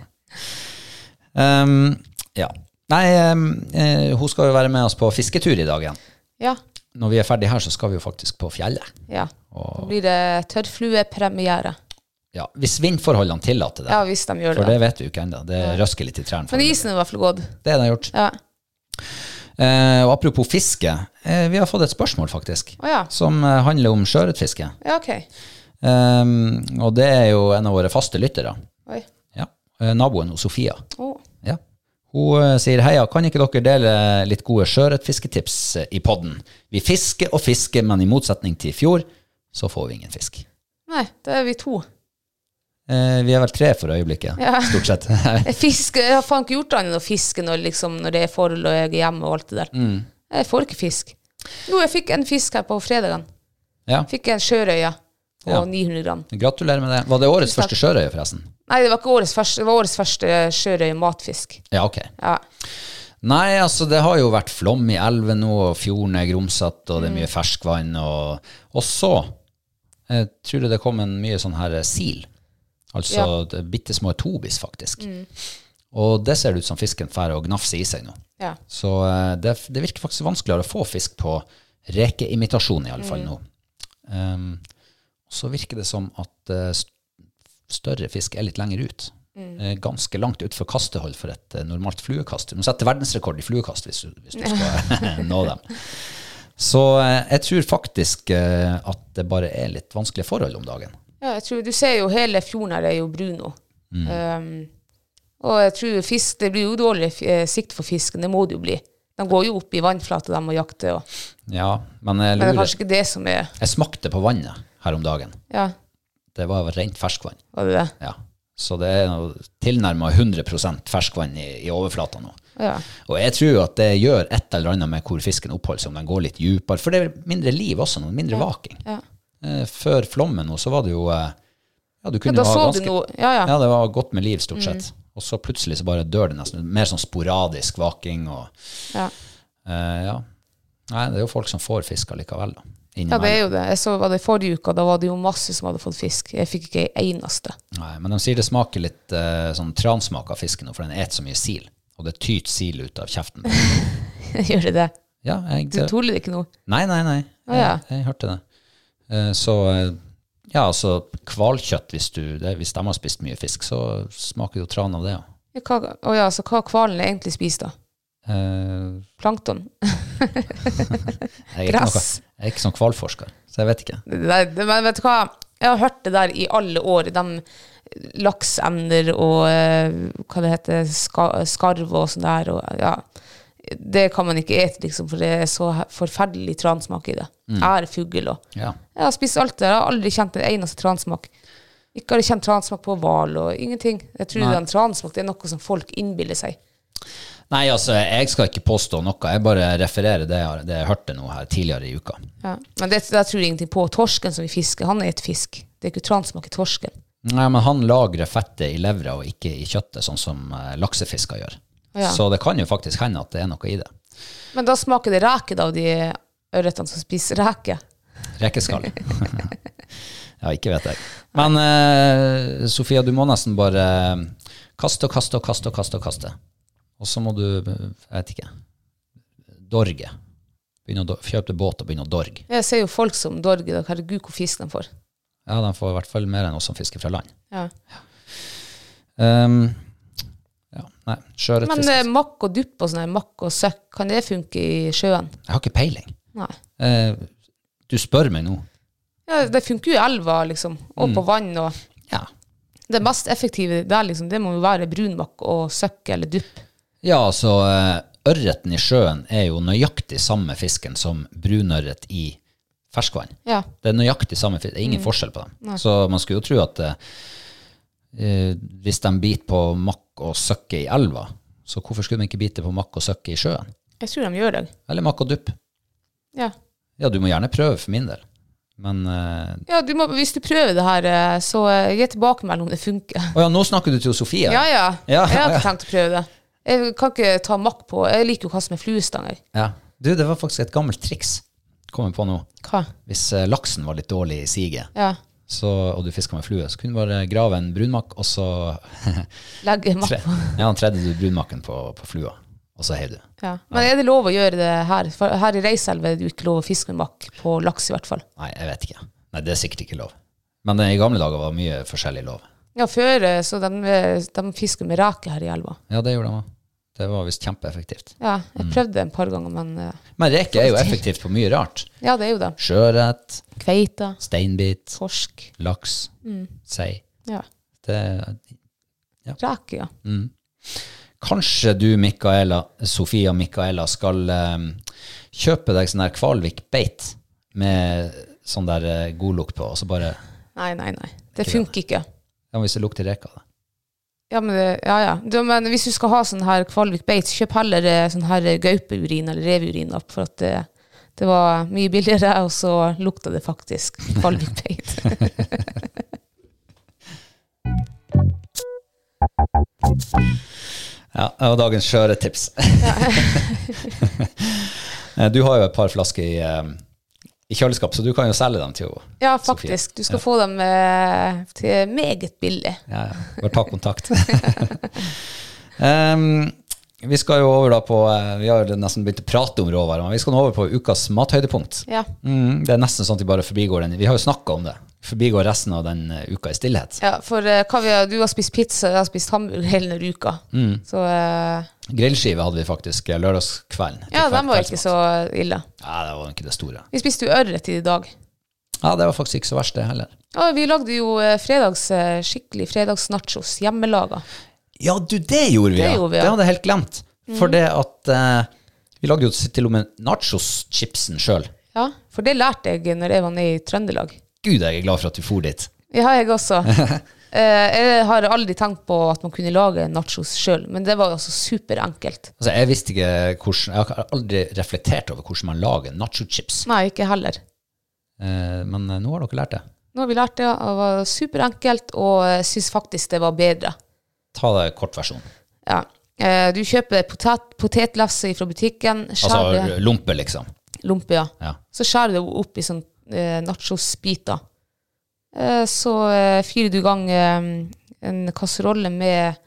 Speaker 1: Um, ja. Nei, um, eh, hun skal jo være med oss på fisketur i dag igjen.
Speaker 2: Ja,
Speaker 1: Når vi er ferdig her, så skal vi jo faktisk på fjellet.
Speaker 2: ja. Da blir det tørrfluepremiere.
Speaker 1: Ja, Hvis vindforholdene tillater det.
Speaker 2: Ja, hvis de gjør
Speaker 1: For
Speaker 2: det.
Speaker 1: det vet vi jo ikke ennå. Det røsker litt i trærne.
Speaker 2: Men
Speaker 1: foreløpig.
Speaker 2: isen er i hvert fall gått.
Speaker 1: Det er det gjort.
Speaker 2: Ja.
Speaker 1: Eh, og apropos fiske, eh, vi har fått et spørsmål faktisk,
Speaker 2: Å ja.
Speaker 1: som eh, handler om sjøørretfiske.
Speaker 2: ja, ok.
Speaker 1: Ehm, og det er jo en av våre faste lyttere.
Speaker 2: Oi.
Speaker 1: Ja. Eh, Naboen hos Sofia.
Speaker 2: Å.
Speaker 1: Ja. Hun eh, sier heia, kan ikke dere dele litt gode sjøørretfisketips eh, i podden? Vi fisker og fisker, men i motsetning til i fjor, så får vi ingen fisk.
Speaker 2: Nei, da er vi to.
Speaker 1: Eh, vi er vel tre for øyeblikket,
Speaker 2: Ja.
Speaker 1: stort sett. [LAUGHS]
Speaker 2: Jeg, fisker, jeg har faen ikke gjort annet enn å fiske når, liksom, når det er forhold og jeg er hjemme og alt det der.
Speaker 1: Mm.
Speaker 2: Jeg får ikke fisk. Jo, jeg fikk en fisk her på fredagen.
Speaker 1: ja.
Speaker 2: Fikk en sjørøye på
Speaker 1: Ja.
Speaker 2: 900 gram.
Speaker 1: Gratulerer med det. Var det årets
Speaker 2: Tusen takk.
Speaker 1: første sjørøye, forresten?
Speaker 2: Nei, det var ikke årets første, det var årets første sjørøye matfisk.
Speaker 1: Ja, ok.
Speaker 2: Ja.
Speaker 1: Nei, altså det har jo vært flom i elven nå, og fjorden er grumsete, og det er mye ferskvann. Og, og så eh, tror jeg det kom en mye sånn her eh, sil. Altså
Speaker 2: Ja.
Speaker 1: ja. bitte små tobis, faktisk. Og det ser det ut som fisken drar og gnafser i seg nå.
Speaker 2: ja.
Speaker 1: Så eh, det, det virker faktisk vanskeligere å få fisk på rekeimitasjon, i alle
Speaker 2: Mm.
Speaker 1: fall nå. Ehm, Um, så virker det som at eh, st- større fisk er litt lenger ut.
Speaker 2: Mm.
Speaker 1: eh, ganske langt utfor kastehold for et eh, normalt fluekast. Du må sette verdensrekord i fluekast hvis, du- hvis du skal [LAUGHS]
Speaker 2: [LAUGHS]
Speaker 1: nå dem. Så eh, jeg tror faktisk eh, at det bare er litt vanskelige forhold om dagen.
Speaker 2: Ja, jeg tror, du ser jo hele fjorden her er jo brun nå.
Speaker 1: Mm.
Speaker 2: Ehm, og jeg tror fisk, det blir jo dårlig eh, sikt for fisken, det må det jo bli. De går jo opp i vannflata, de må jakte. Og.
Speaker 1: Ja, men jeg
Speaker 2: Men det er
Speaker 1: lurer
Speaker 2: kanskje ikke det som er
Speaker 1: Jeg smakte på vannet her om dagen.
Speaker 2: Ja,
Speaker 1: Det var rent ferskvann.
Speaker 2: var det det?
Speaker 1: Ja. Så det er noe tilnærma 100 ferskvann i, i overflata nå.
Speaker 2: Ja.
Speaker 1: Og jeg tror at det gjør et eller annet med hvor fisken oppholder seg, om den går litt dypere. For det er mindre liv også, noe mindre vaking.
Speaker 2: ja.
Speaker 1: Eh, Før flommen nå, så var det jo eh, Ja, du
Speaker 2: Ja,
Speaker 1: kunne
Speaker 2: da
Speaker 1: ha
Speaker 2: så du
Speaker 1: ganske
Speaker 2: noe. Mm. Ja, ja.
Speaker 1: Ja, det var godt med liv, stort sett. Og så plutselig så bare dør det nesten. Mer sånn sporadisk vaking og
Speaker 2: Ja.
Speaker 1: eh, Ja. Nei, det er jo folk som får fisk allikevel, da.
Speaker 2: ja, det
Speaker 1: Innimellom.
Speaker 2: er jo det. Jeg så var det forrige uka, da var det jo masse som hadde fått fisk. Jeg fikk ikke ei eneste. [LAUGHS]
Speaker 1: Nei, men de sier det smaker litt eh, sånn transmak av fisken, nå, for den et så mye sil. Og det tyter sil ut av kjeften.
Speaker 2: [LAUGHS]
Speaker 1: på den.
Speaker 2: Gjør det det?
Speaker 1: Ja, jeg,
Speaker 2: Du tåler ikke noe?
Speaker 1: nei, nei, nei.
Speaker 2: Å, ja.
Speaker 1: Jeg, jeg hørte det. Eh, så eh, ja, altså hvalkjøtt, hvis, du- det- hvis de har spist mye fisk, så smaker jo tran av det. ja.
Speaker 2: Ja, Hva, å ja, så hva hvalen egentlig spiser da?
Speaker 1: Eh,
Speaker 2: Plankton?
Speaker 1: jeg, er ikke noe,
Speaker 2: Gress.
Speaker 1: jeg er ikke sånn hvalforsker, så jeg vet ikke.
Speaker 2: Det der, det, men vet du hva? Jeg har hørt det der i alle år. De lakseemner og eh, hva det heter, ska, skarv og sånn der. Og, ja. Det kan man ikke ete, liksom, for det er så he- forferdelig transmak i det. Jeg er fugl og
Speaker 1: Ja.
Speaker 2: Jeg har spist alt det. Jeg har aldri kjent en eneste transmak. Ikke har jeg kjent transmak på hval og ingenting. Jeg tror den transmak det er noe som folk innbiller seg.
Speaker 1: Nei, altså, jeg skal ikke påstå noe. Jeg bare refererer det jeg, har- det jeg hørte nå her tidligere i uka.
Speaker 2: Men det, der tror jeg ingenting på. Torsken som vi fisker, han er et fisk. Det er ikke transmak i torsken.
Speaker 1: Nei, men han lagrer fettet i levra og ikke i kjøttet, sånn som eh, laksefisker gjør.
Speaker 2: Ja.
Speaker 1: Så det kan jo faktisk hende at det er noe i det.
Speaker 2: Men da smaker det reke, da, av de ørretene som spiser reke. [LAUGHS]
Speaker 1: Rekeskall. ja, ikke vet jeg. Men eh, Sofia, du må nesten bare kaste og kaste og kaste og kaste og kaste. Og så må du, eh, jeg vet ikke, dorge. Begynne å do- Kjøpe deg båt og begynne å dorge.
Speaker 2: Jeg ser jo folk som dorg i dag. Herregud, hvor fisk de får.
Speaker 1: Ja, de får i hvert fall mer enn oss som fisker fra land.
Speaker 2: Ja.
Speaker 1: Um, ja, nei,
Speaker 2: Men
Speaker 1: sjøørretfisk.
Speaker 2: eh, makk og dupp og sånn her, makk og søkk, kan det funke i sjøen?
Speaker 1: altså. Jeg har ikke peiling.
Speaker 2: Nei.
Speaker 1: Eh, du spør meg nå.
Speaker 2: Ja, det funker jo i elva, liksom. Og på vann og
Speaker 1: Ja.
Speaker 2: Det mest effektive der, liksom, det må jo være brunmakk og søkk eller dupp.
Speaker 1: Ja, altså eh, ørreten i sjøen er jo nøyaktig samme fisken som brunørret i ferskvann.
Speaker 2: Ja.
Speaker 1: Det er nøyaktig samme fisk, det er ingen forskjell på dem. Så man skulle jo tro at eh, eh, hvis de biter på makk og søkke i elva, så hvorfor skulle de ikke bite på makk og søkke i sjøen?
Speaker 2: Jeg tror de gjør det.
Speaker 1: Eller makk og dupp?
Speaker 2: Ja.
Speaker 1: Ja, du må gjerne prøve for min del. Men eh,
Speaker 2: ja du må, hvis du prøver det her, eh, så eh, gi tilbakemelding om det funker.
Speaker 1: Å ja, nå snakker du til Sofie.
Speaker 2: Ja, ja.
Speaker 1: Ja,
Speaker 2: Jeg har
Speaker 1: ja.
Speaker 2: ikke tenkt å prøve det. Jeg kan ikke ta makk på Jeg liker jo hva som er fluestanger.
Speaker 1: Ja. Du, det var faktisk et gammelt triks. Kommer jeg på nå.
Speaker 2: Hva?
Speaker 1: Hvis eh, laksen var litt dårlig i siget,
Speaker 2: Ja.
Speaker 1: så, og du fisker med flue, så kunne du bare grave en brunmakk, og så
Speaker 2: Legge makk
Speaker 1: tre, ja, tredde du brunmakken på, på flua, og så heier du.
Speaker 2: Ja. Men er det lov å gjøre det her? For her i Reiselva er det jo ikke lov å fiske med makk på laks, i hvert fall.
Speaker 1: Nei, jeg vet ikke. Nei, det er sikkert ikke lov. Men eh, i gamle dager var mye forskjellig lov.
Speaker 2: Ja, før eh, så de, eh, de fisker med rake her i elva.
Speaker 1: Ja, det gjorde de også. Det var visst kjempeeffektivt.
Speaker 2: Ja, jeg prøvde det en par ganger, men eh,
Speaker 1: Men reke er jo effektivt på mye rart.
Speaker 2: ja, det er jo det.
Speaker 1: Sjøørret,
Speaker 2: Kveita,
Speaker 1: steinbit,
Speaker 2: torsk,
Speaker 1: laks,
Speaker 2: Mm.
Speaker 1: sei.
Speaker 2: ja.
Speaker 1: Det,
Speaker 2: rake, ja.
Speaker 1: Mm. kanskje du, Mikaela, Sofia Mikaela, skal eh, kjøpe deg sånn der Kvalvik beit med sånn der eh, god lukt på, og så bare
Speaker 2: Nei, nei, nei. Det funker ikke.
Speaker 1: Ja, hvis det lukter reker, da.
Speaker 2: Ja, men, det, ja, ja. Du, men hvis du skal ha sånn her Kvalvik beit, så kjøp heller eh, sånn her eh, gaupeurin eller reveurin opp, for at det, det var mye billigere, og så lukta det faktisk Kvalvik beit.
Speaker 1: Ja, det var dagens skjøretips. [LAUGHS] Eh, du har jo et par flasker i, eh, i kjøleskap, så du kan jo selge dem til henne.
Speaker 2: Ja,
Speaker 1: Sofie.
Speaker 2: faktisk. Du skal få dem eh, til meget billig.
Speaker 1: Ja, ja. Bare ta kontakt. um, Vi skal jo over da på eh, Vi har jo nesten begynt å prate om råvarer, men vi skal nå over på ukas mathøydepunkt.
Speaker 2: Ja.
Speaker 1: Mm, det er nesten sånn at vi bare forbigår den. Vi har jo snakka om det. Forbigår resten av den eh, uka i stillhet.
Speaker 2: Ja, for eh, hva vi har, du har spist pizza, jeg har spist hamburger [LAUGHS] hele denne uka. Så eh,
Speaker 1: Grillskive hadde vi faktisk eh, lørdagskvelden. til
Speaker 2: ja,
Speaker 1: kveld-
Speaker 2: den var ikke
Speaker 1: kveldsmat.
Speaker 2: så ille.
Speaker 1: Nei, det var ikke det store.
Speaker 2: Vi spiste jo ørret i dag.
Speaker 1: Ja, det var faktisk ikke så verst, det heller.
Speaker 2: Og vi lagde jo eh, fredags, eh, skikkelig fredagsnachos, hjemmelaga.
Speaker 1: Ja, du, det gjorde vi,
Speaker 2: Det
Speaker 1: ja.
Speaker 2: gjorde vi, ja. Mhm.
Speaker 1: Det hadde jeg helt glemt. For det at eh, Vi lagde jo til og med nachos-chipsen sjøl.
Speaker 2: Ja, for det lærte jeg når jeg var nede i Trøndelag.
Speaker 1: Gud, jeg er glad for at vi for dit.
Speaker 2: Ja, jeg også. Eh, jeg har aldri tenkt på at man kunne lage nachos sjøl, men det var jo altså superenkelt.
Speaker 1: Altså, Jeg visste ikke hvordan Jeg har aldri reflektert over hvordan man lager nacho-chips.
Speaker 2: Nei, ikke heller.
Speaker 1: Eh, men eh, nå har dere lært det.
Speaker 2: Nå har vi lært det, og det var superenkelt, og jeg syns faktisk det var bedre.
Speaker 1: Ta det kortversjonen.
Speaker 2: Ja. Eh, Du kjøper potet, potetlefse fra butikken, skjærer
Speaker 1: Altså
Speaker 2: det
Speaker 1: lompe, liksom.
Speaker 2: lompe, ja.
Speaker 1: Ja.
Speaker 2: Så skjærer du det opp i sånn eh, nachosbiter. Eh, så eh, fyrer du i gang eh, en kasserolle med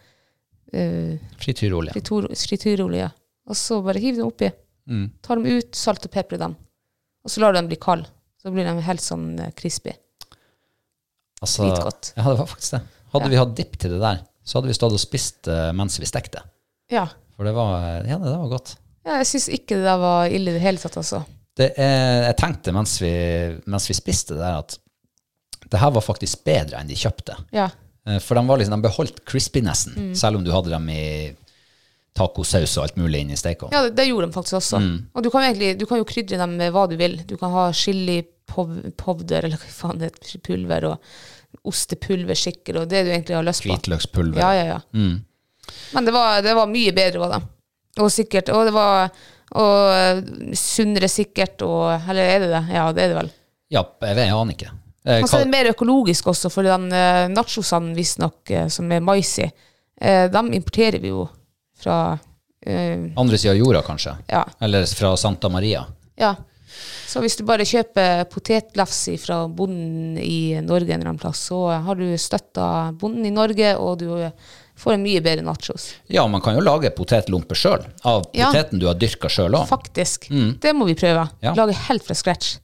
Speaker 2: eh,
Speaker 1: Frityrolje.
Speaker 2: fritor, frityrolje, og så bare hiver dem oppi.
Speaker 1: Mm.
Speaker 2: Tar dem ut, salt og pepper i dem. Og så lar du dem bli kald. Så blir de helt sånn eh, crispy.
Speaker 1: Altså,
Speaker 2: Dritgodt.
Speaker 1: ja, det var faktisk det. Hadde vi hatt dipp til det der, så hadde vi stått og spist eh, mens vi stekte.
Speaker 2: Ja.
Speaker 1: For det var, ja, det var godt.
Speaker 2: ja jeg syns ikke det der var ille i det hele tatt, altså.
Speaker 1: Det er, jeg tenkte mens vi, mens vi spiste det der, at det her var faktisk bedre enn de kjøpte.
Speaker 2: Ja.
Speaker 1: Eh, For de, var liksom, de beholdt crispinessen,
Speaker 2: Mm.
Speaker 1: selv om du hadde dem i tacosaus og alt mulig inni stekeovnen.
Speaker 2: ja, det, det gjorde de faktisk også. Og du kan, egentlig, du kan jo krydre dem med hva du vil. Du kan ha chili pov- powder, eller hva faen det heter, pulver, og ostepulver sikkert, og det du egentlig har lyst på.
Speaker 1: Hvitløkspulver.
Speaker 2: Ja, ja, ja. Men det var, det var mye bedre, var det. Og sikkert, og det var og sunnere sikkert, og Eller er det det? Ja, det er det vel.
Speaker 1: Ja, jeg, vet, jeg aner ikke. Eh,
Speaker 2: Men så
Speaker 1: hva-
Speaker 2: er det mer økologisk også, for den eh, nachosene visstnok eh, som er mais i, eh, dem importerer vi jo fra eh,
Speaker 1: andre sida av jorda, kanskje?
Speaker 2: Ja.
Speaker 1: Eller fra Santa Maria?
Speaker 2: Ja. Så hvis du bare kjøper potetlefse fra bonden i Norge en eller annen plass, så har du støtta bonden i Norge, og du får en mye bedre nachos.
Speaker 1: Ja, man kan jo lage potetlomper sjøl, av
Speaker 2: Ja.
Speaker 1: poteten du har dyrka sjøl òg.
Speaker 2: Faktisk. Det må vi prøve.
Speaker 1: Mm. Ja.
Speaker 2: Lage helt fra scratch.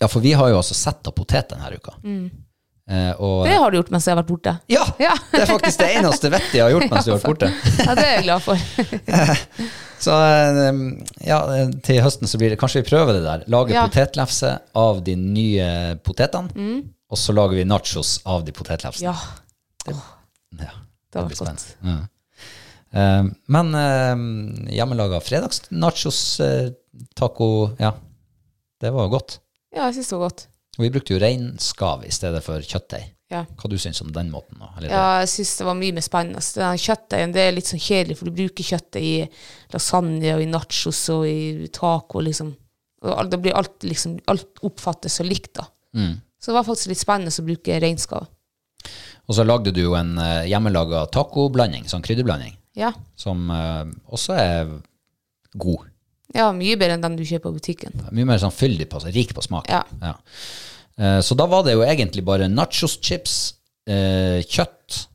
Speaker 1: Ja, for vi har jo altså sett av potet denne uka. Eh, og,
Speaker 2: Mm. Det har du gjort mens jeg har vært borte.
Speaker 1: ja,
Speaker 2: Ja.
Speaker 1: det er faktisk det eneste vettet jeg har gjort mens du har vært
Speaker 2: [LAUGHS]
Speaker 1: borte.
Speaker 2: Ja, det er jeg glad
Speaker 1: [LAUGHS]
Speaker 2: for.
Speaker 1: Så eh, ja, til høsten så blir det kanskje vi prøver det der. Lage
Speaker 2: Ja.
Speaker 1: potetlefse av de nye potetene, og så lager vi nachos av de potetlefsene.
Speaker 2: Mm. Ja,
Speaker 1: Ja,
Speaker 2: det
Speaker 1: det
Speaker 2: var
Speaker 1: blir
Speaker 2: godt.
Speaker 1: spennende. Mm. Eh, men uh, hjemmelaga fredagsnachos, eh, taco Ja, det var godt.
Speaker 2: Ja, jeg syns det var godt.
Speaker 1: Og vi brukte jo reinskav i stedet for kjøttdeig.
Speaker 2: Ja.
Speaker 1: Hva du syns om den måten? da? Eller,
Speaker 2: Ja, jeg syns det var mye mer spennende. Så Den kjøttdeigen det er litt sånn kjedelig, for du bruker kjøttet i lasagne og i nachos og i taco. liksom. Og alt- Da blir alt, liksom, alt oppfattes så likt, da. Så det var faktisk litt spennende å bruke reinskav.
Speaker 1: Og så lagde du jo en uh, hjemmelaga tacoblanding, sånn krydderblanding,
Speaker 2: Ja.
Speaker 1: som eh, også er god.
Speaker 2: ja, mye bedre enn den du kjøper på butikken.
Speaker 1: Mye mer sånn fyldig på seg, rik på smak.
Speaker 2: Ja.
Speaker 1: Eh, Så da var det jo egentlig bare nachos-chips, eh, kjøtt,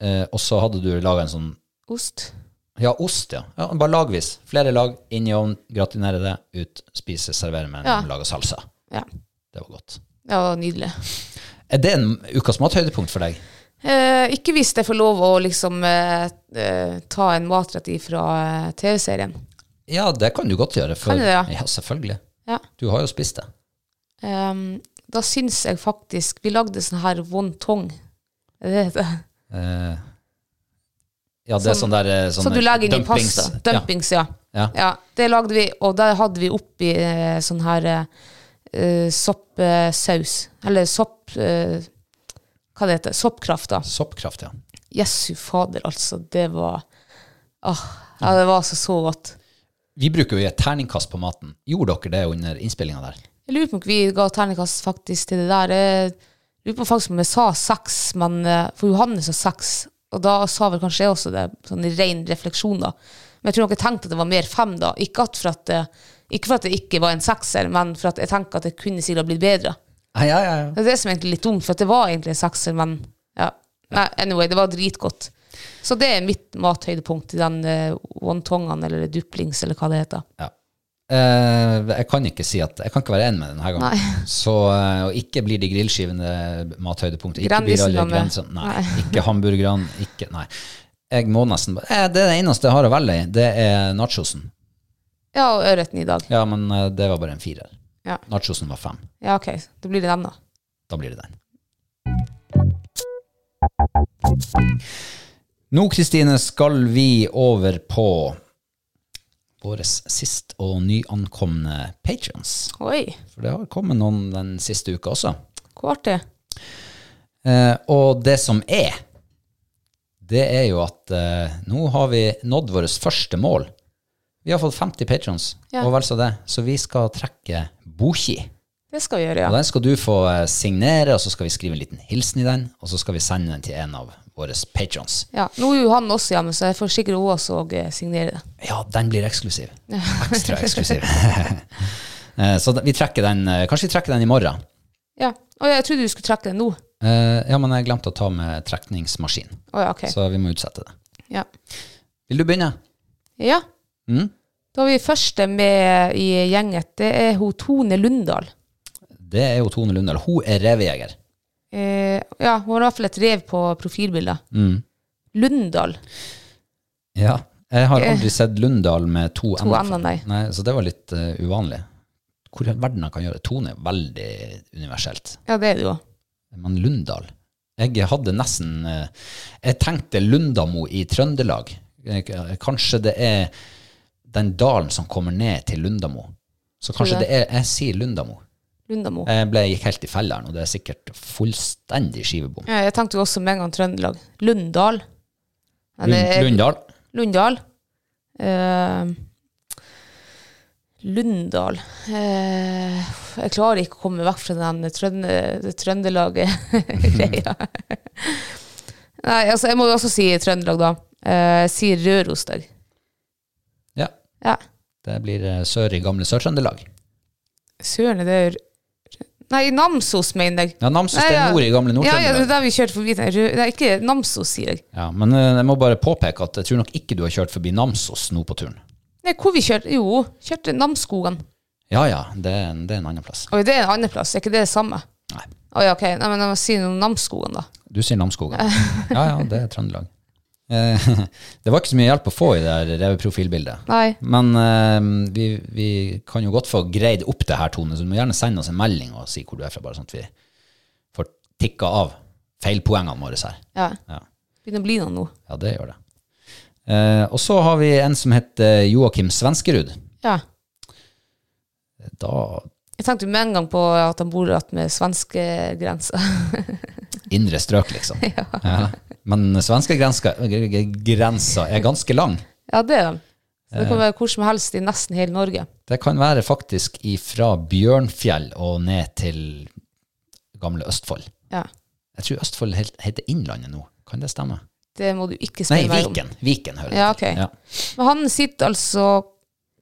Speaker 1: eh, og så hadde du laga en sånn
Speaker 2: Ost.
Speaker 1: Ja, ost, ja. ja. Bare lagvis. Flere lag, inn i ovnen, gratinere det, ut, spise, servere med en
Speaker 2: Ja.
Speaker 1: laga salsa.
Speaker 2: Ja,
Speaker 1: Det var godt.
Speaker 2: det var nydelig.
Speaker 1: Er det en ukas mathøydepunkt for deg?
Speaker 2: Eh, ikke hvis jeg får lov å liksom eh, eh, ta en matrett ifra eh, TV-serien.
Speaker 1: Ja, det kan du godt gjøre. For,
Speaker 2: Kan du det, ja?
Speaker 1: ja, selvfølgelig.
Speaker 2: Ja.
Speaker 1: Du har jo spist det.
Speaker 2: Ehm, da syns jeg faktisk Vi lagde sånn her wonton. Er det det heter?
Speaker 1: Eh, ja, det er sånn der eh,
Speaker 2: Så
Speaker 1: sånne
Speaker 2: du legger inn i
Speaker 1: dumplings-
Speaker 2: pasta. Dumpings, ja.
Speaker 1: Ja, ja.
Speaker 2: ja. Det lagde vi, og der hadde vi oppi eh, sånn her eh, soppsaus. Eller sopp... Eh, hva det heter Soppkraft, da.
Speaker 1: Soppkraft, ja.
Speaker 2: Jesu fader, altså. Det var Åh, Ja, det var altså så godt.
Speaker 1: Vi bruker jo å gi et terningkast på maten. Gjorde dere det under innspillinga der?
Speaker 2: Jeg lurer på om vi ga terningkast faktisk til det der. Jeg lurer på faktisk om jeg sa seks, men eh, for Johannes sa seks. Og da sa vel kanskje jeg også det, sånn i ren refleksjon, da. Men jeg tror nok jeg tenkte at det var mer fem, da. Ikke, at for at det, ikke for at det ikke var en sekser, men for at jeg tenker at det kunne sikkert ha blitt bedre.
Speaker 1: Ja, ja, ja.
Speaker 2: Det er det som er egentlig litt dumt, for at det var egentlig en sekser, men ja. Nei, anyway, det var dritgodt. Så det er mitt mathøydepunkt i den eh, wontongaen eller duplings eller hva det heter.
Speaker 1: Ja. Eh, jeg kan ikke si at Jeg kan ikke være enig med deg denne gangen. [LAUGHS] Så, eh, og ikke blir de grillskivene mathøydepunktet. Ikke blir alle
Speaker 2: Grandisene.
Speaker 1: grensene. Nei,
Speaker 2: Nei.
Speaker 1: [LAUGHS] ikke hamburgerne. Ikke, nei. Jeg må nesten bare eh, Det er det eneste jeg har å velge i, det er nachosen.
Speaker 2: Ja, og ørreten i dag.
Speaker 1: Ja, men eh, det var bare en firer.
Speaker 2: Ja.
Speaker 1: Nachosen var fem.
Speaker 2: Ja, ok. Da blir det den, da.
Speaker 1: Da blir det den. Nå, Kristine, skal vi over på våre sist og nyankomne patrions.
Speaker 2: Oi,
Speaker 1: For det har kommet noen den siste uka også.
Speaker 2: hvor artig.
Speaker 1: Eh, og det som er, det er jo at eh, nå har vi nådd vårt første mål. Vi har fått 50 patrons,
Speaker 2: Ja.
Speaker 1: og vel så det. Så vi skal trekke Boki.
Speaker 2: Det skal vi gjøre,
Speaker 1: Og
Speaker 2: ja.
Speaker 1: den skal du få eh, signere, og så skal vi skrive en liten hilsen i den, og så skal vi sende den til en av våre patrons.
Speaker 2: ja. Nå er jo han også hjemme, så jeg får sikkert hun også eh, signere det.
Speaker 1: Ja, den blir eksklusiv. Ekstra eksklusiv. [LAUGHS] Eh, så da- vi trekker den, eh, kanskje vi trekker den i morgen.
Speaker 2: Ja. Å, jeg trodde du skulle trekke den nå. Å
Speaker 1: Eh, ja, men jeg glemte å ta med trekningsmaskin,
Speaker 2: ja, ok.
Speaker 1: så vi må utsette det.
Speaker 2: Ja.
Speaker 1: Vil du begynne?
Speaker 2: ja.
Speaker 1: Mm.
Speaker 2: Da har vi første med i gjengen. Det er hun Tone Lundahl.
Speaker 1: Det er jo Tone Lundahl. Hun er revejeger.
Speaker 2: Eh, ja, hun har i hvert fall et rev på profilbildet. Lundahl.
Speaker 1: Mm. Ja. Jeg har
Speaker 2: [LAUGHS]
Speaker 1: aldri sett Lundahl med to,
Speaker 2: To
Speaker 1: før.
Speaker 2: ender, nei.
Speaker 1: Så det var litt eh, uvanlig. Hvor i all verden han kan gjøre det? Tone er veldig universelt.
Speaker 2: Ja, det er det jo.
Speaker 1: Men Lundahl Jeg hadde nesten eh, Jeg tenkte Lundamo i Trøndelag. Eh, k- Kanskje det er den dalen som kommer ned til Lundamo. Så kanskje det
Speaker 2: det?
Speaker 1: er Jeg sier Lundamo.
Speaker 2: Lundamo.
Speaker 1: Jeg ble, gikk helt i felleren, og det er sikkert fullstendig skivebom.
Speaker 2: Ja, jeg tenkte jo også med en gang Trøndelag. Lunddal. Ja, det
Speaker 1: Lund,
Speaker 2: er-
Speaker 1: Lundahl.
Speaker 2: Lunddal. Eh, Lunddal. Eh, jeg klarer ikke å komme vekk fra den trønde, det Trøndelag-greia. [LAUGHS] Nei, altså, jeg må jo også si Trøndelag, da. Eh, jeg sier Røros der.
Speaker 1: Ja.
Speaker 2: Ja.
Speaker 1: Det blir eh, sør i gamle Sør-Trøndelag.
Speaker 2: Søren, er det er Nei, Namsos, mener jeg.
Speaker 1: Ja, Namsos
Speaker 2: Nei,
Speaker 1: det
Speaker 2: ja.
Speaker 1: er nord i gamle
Speaker 2: Ja, ja, det er
Speaker 1: Nord-Trøndelag. Ja,
Speaker 2: der vi kjørte forbi den røde Nei, ikke Namsos, sier jeg.
Speaker 1: men eh, jeg må bare påpeke at jeg tror nok ikke du har kjørt forbi Namsos nå på turen.
Speaker 2: Nei, hvor vi kjørte Jo, kjørte Namsskogan.
Speaker 1: Ja ja, det er, en- det er en annen plass.
Speaker 2: Oi, det er en annen plass, er ikke det det samme?
Speaker 1: Nei.
Speaker 2: Å ja, ok. Nei, men jeg må si noe om Namsskogan, da.
Speaker 1: Du sier Namsskogan. Ja ja, det er Trøndelag. Eh, [LAUGHS] Det var ikke så mye hjelp å få i det her reveprofilbildet.
Speaker 2: Nei.
Speaker 1: Men eh, vi, vi kan jo godt få greid opp det her, Tone, så du må gjerne sende oss en melding og si hvor du er fra, bare sånn at vi får tikka av feilpoengene våre her.
Speaker 2: Ja.
Speaker 1: Ja.
Speaker 2: Begynner å bli noe nå.
Speaker 1: Ja, det gjør det. Eh, og så har vi en som heter Joakim Svenskerud.
Speaker 2: Ja.
Speaker 1: Da
Speaker 2: Jeg tenkte jo med en gang på at han bor rett med svenskegrensa. [LAUGHS]
Speaker 1: indre strøk, liksom. ja. Men svenskegrensa g- g- grensa er ganske lang.
Speaker 2: ja, det er de. Så det kan
Speaker 1: Eh.
Speaker 2: være hvor som helst i nesten hele Norge.
Speaker 1: Det kan være faktisk ifra Bjørnfjell og ned til gamle Østfold.
Speaker 2: Ja.
Speaker 1: Jeg tror Østfold helt- heter Innlandet nå. Kan det stemme?
Speaker 2: Det må du ikke
Speaker 1: Nei,
Speaker 2: spørre meg om.
Speaker 1: Viken. Viken hører
Speaker 2: Ja,
Speaker 1: til.
Speaker 2: ok. Men han sitter altså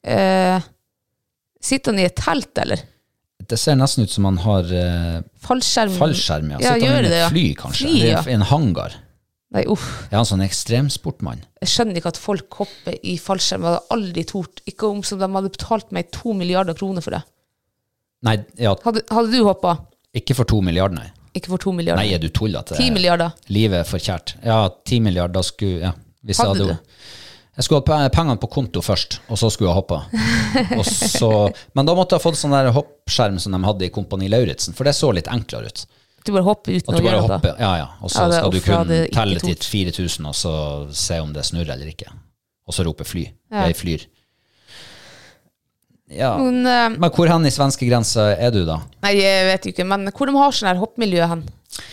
Speaker 2: eh, Sitter han i et telt, eller?
Speaker 1: Det ser nesten ut som han har eh,
Speaker 2: Fallskjerm?
Speaker 1: fallskjerm. Ja.
Speaker 2: Ja,
Speaker 1: Sitter
Speaker 2: gjør
Speaker 1: han i
Speaker 2: det, ja.
Speaker 1: et fly, kanskje?
Speaker 2: Fly, ja.
Speaker 1: Det er I en hangar.
Speaker 2: Nei, uff.
Speaker 1: Er han sånn ekstremsportmann?
Speaker 2: Jeg skjønner ikke at folk hopper i fallskjerm. Jeg hadde aldri tort. Ikke om som de hadde betalt meg to milliarder kroner for det.
Speaker 1: Nei, ja,
Speaker 2: Hadde, hadde du hoppa?
Speaker 1: Ikke for to milliarder, nei.
Speaker 2: Ikke for to milliarder.
Speaker 1: Nei, eh, er du tull at det-
Speaker 2: Ti milliarder.
Speaker 1: livet er for kjært? Ja, ti milliarder, da skulle ja. Hvis jeg,
Speaker 2: Hadde du?
Speaker 1: hadde, jeg skulle hatt pe- pengene på konto først, og så skulle jeg hoppa. Og så, men da måtte jeg ha fått sånn der hoppskjerm som de hadde i Kompani Lauritzen, for det så litt enklere ut.
Speaker 2: Du bare hopper uten
Speaker 1: At du
Speaker 2: å
Speaker 1: bare
Speaker 2: gjøre noe.
Speaker 1: hopper, ja, ja, og så
Speaker 2: Ja, det-
Speaker 1: skal du
Speaker 2: uff, ja,
Speaker 1: kunne
Speaker 2: det er ikke
Speaker 1: telle til
Speaker 2: tort.
Speaker 1: 4000 og så se om det snurrer eller ikke. Og så rope fly. Jeg flyr. Ja.
Speaker 2: Men, eh,
Speaker 1: Men hvor hen i svenskegrensa er du, da?
Speaker 2: nei, jeg vet jo ikke, men hvor de har sånn her hoppmiljø hen?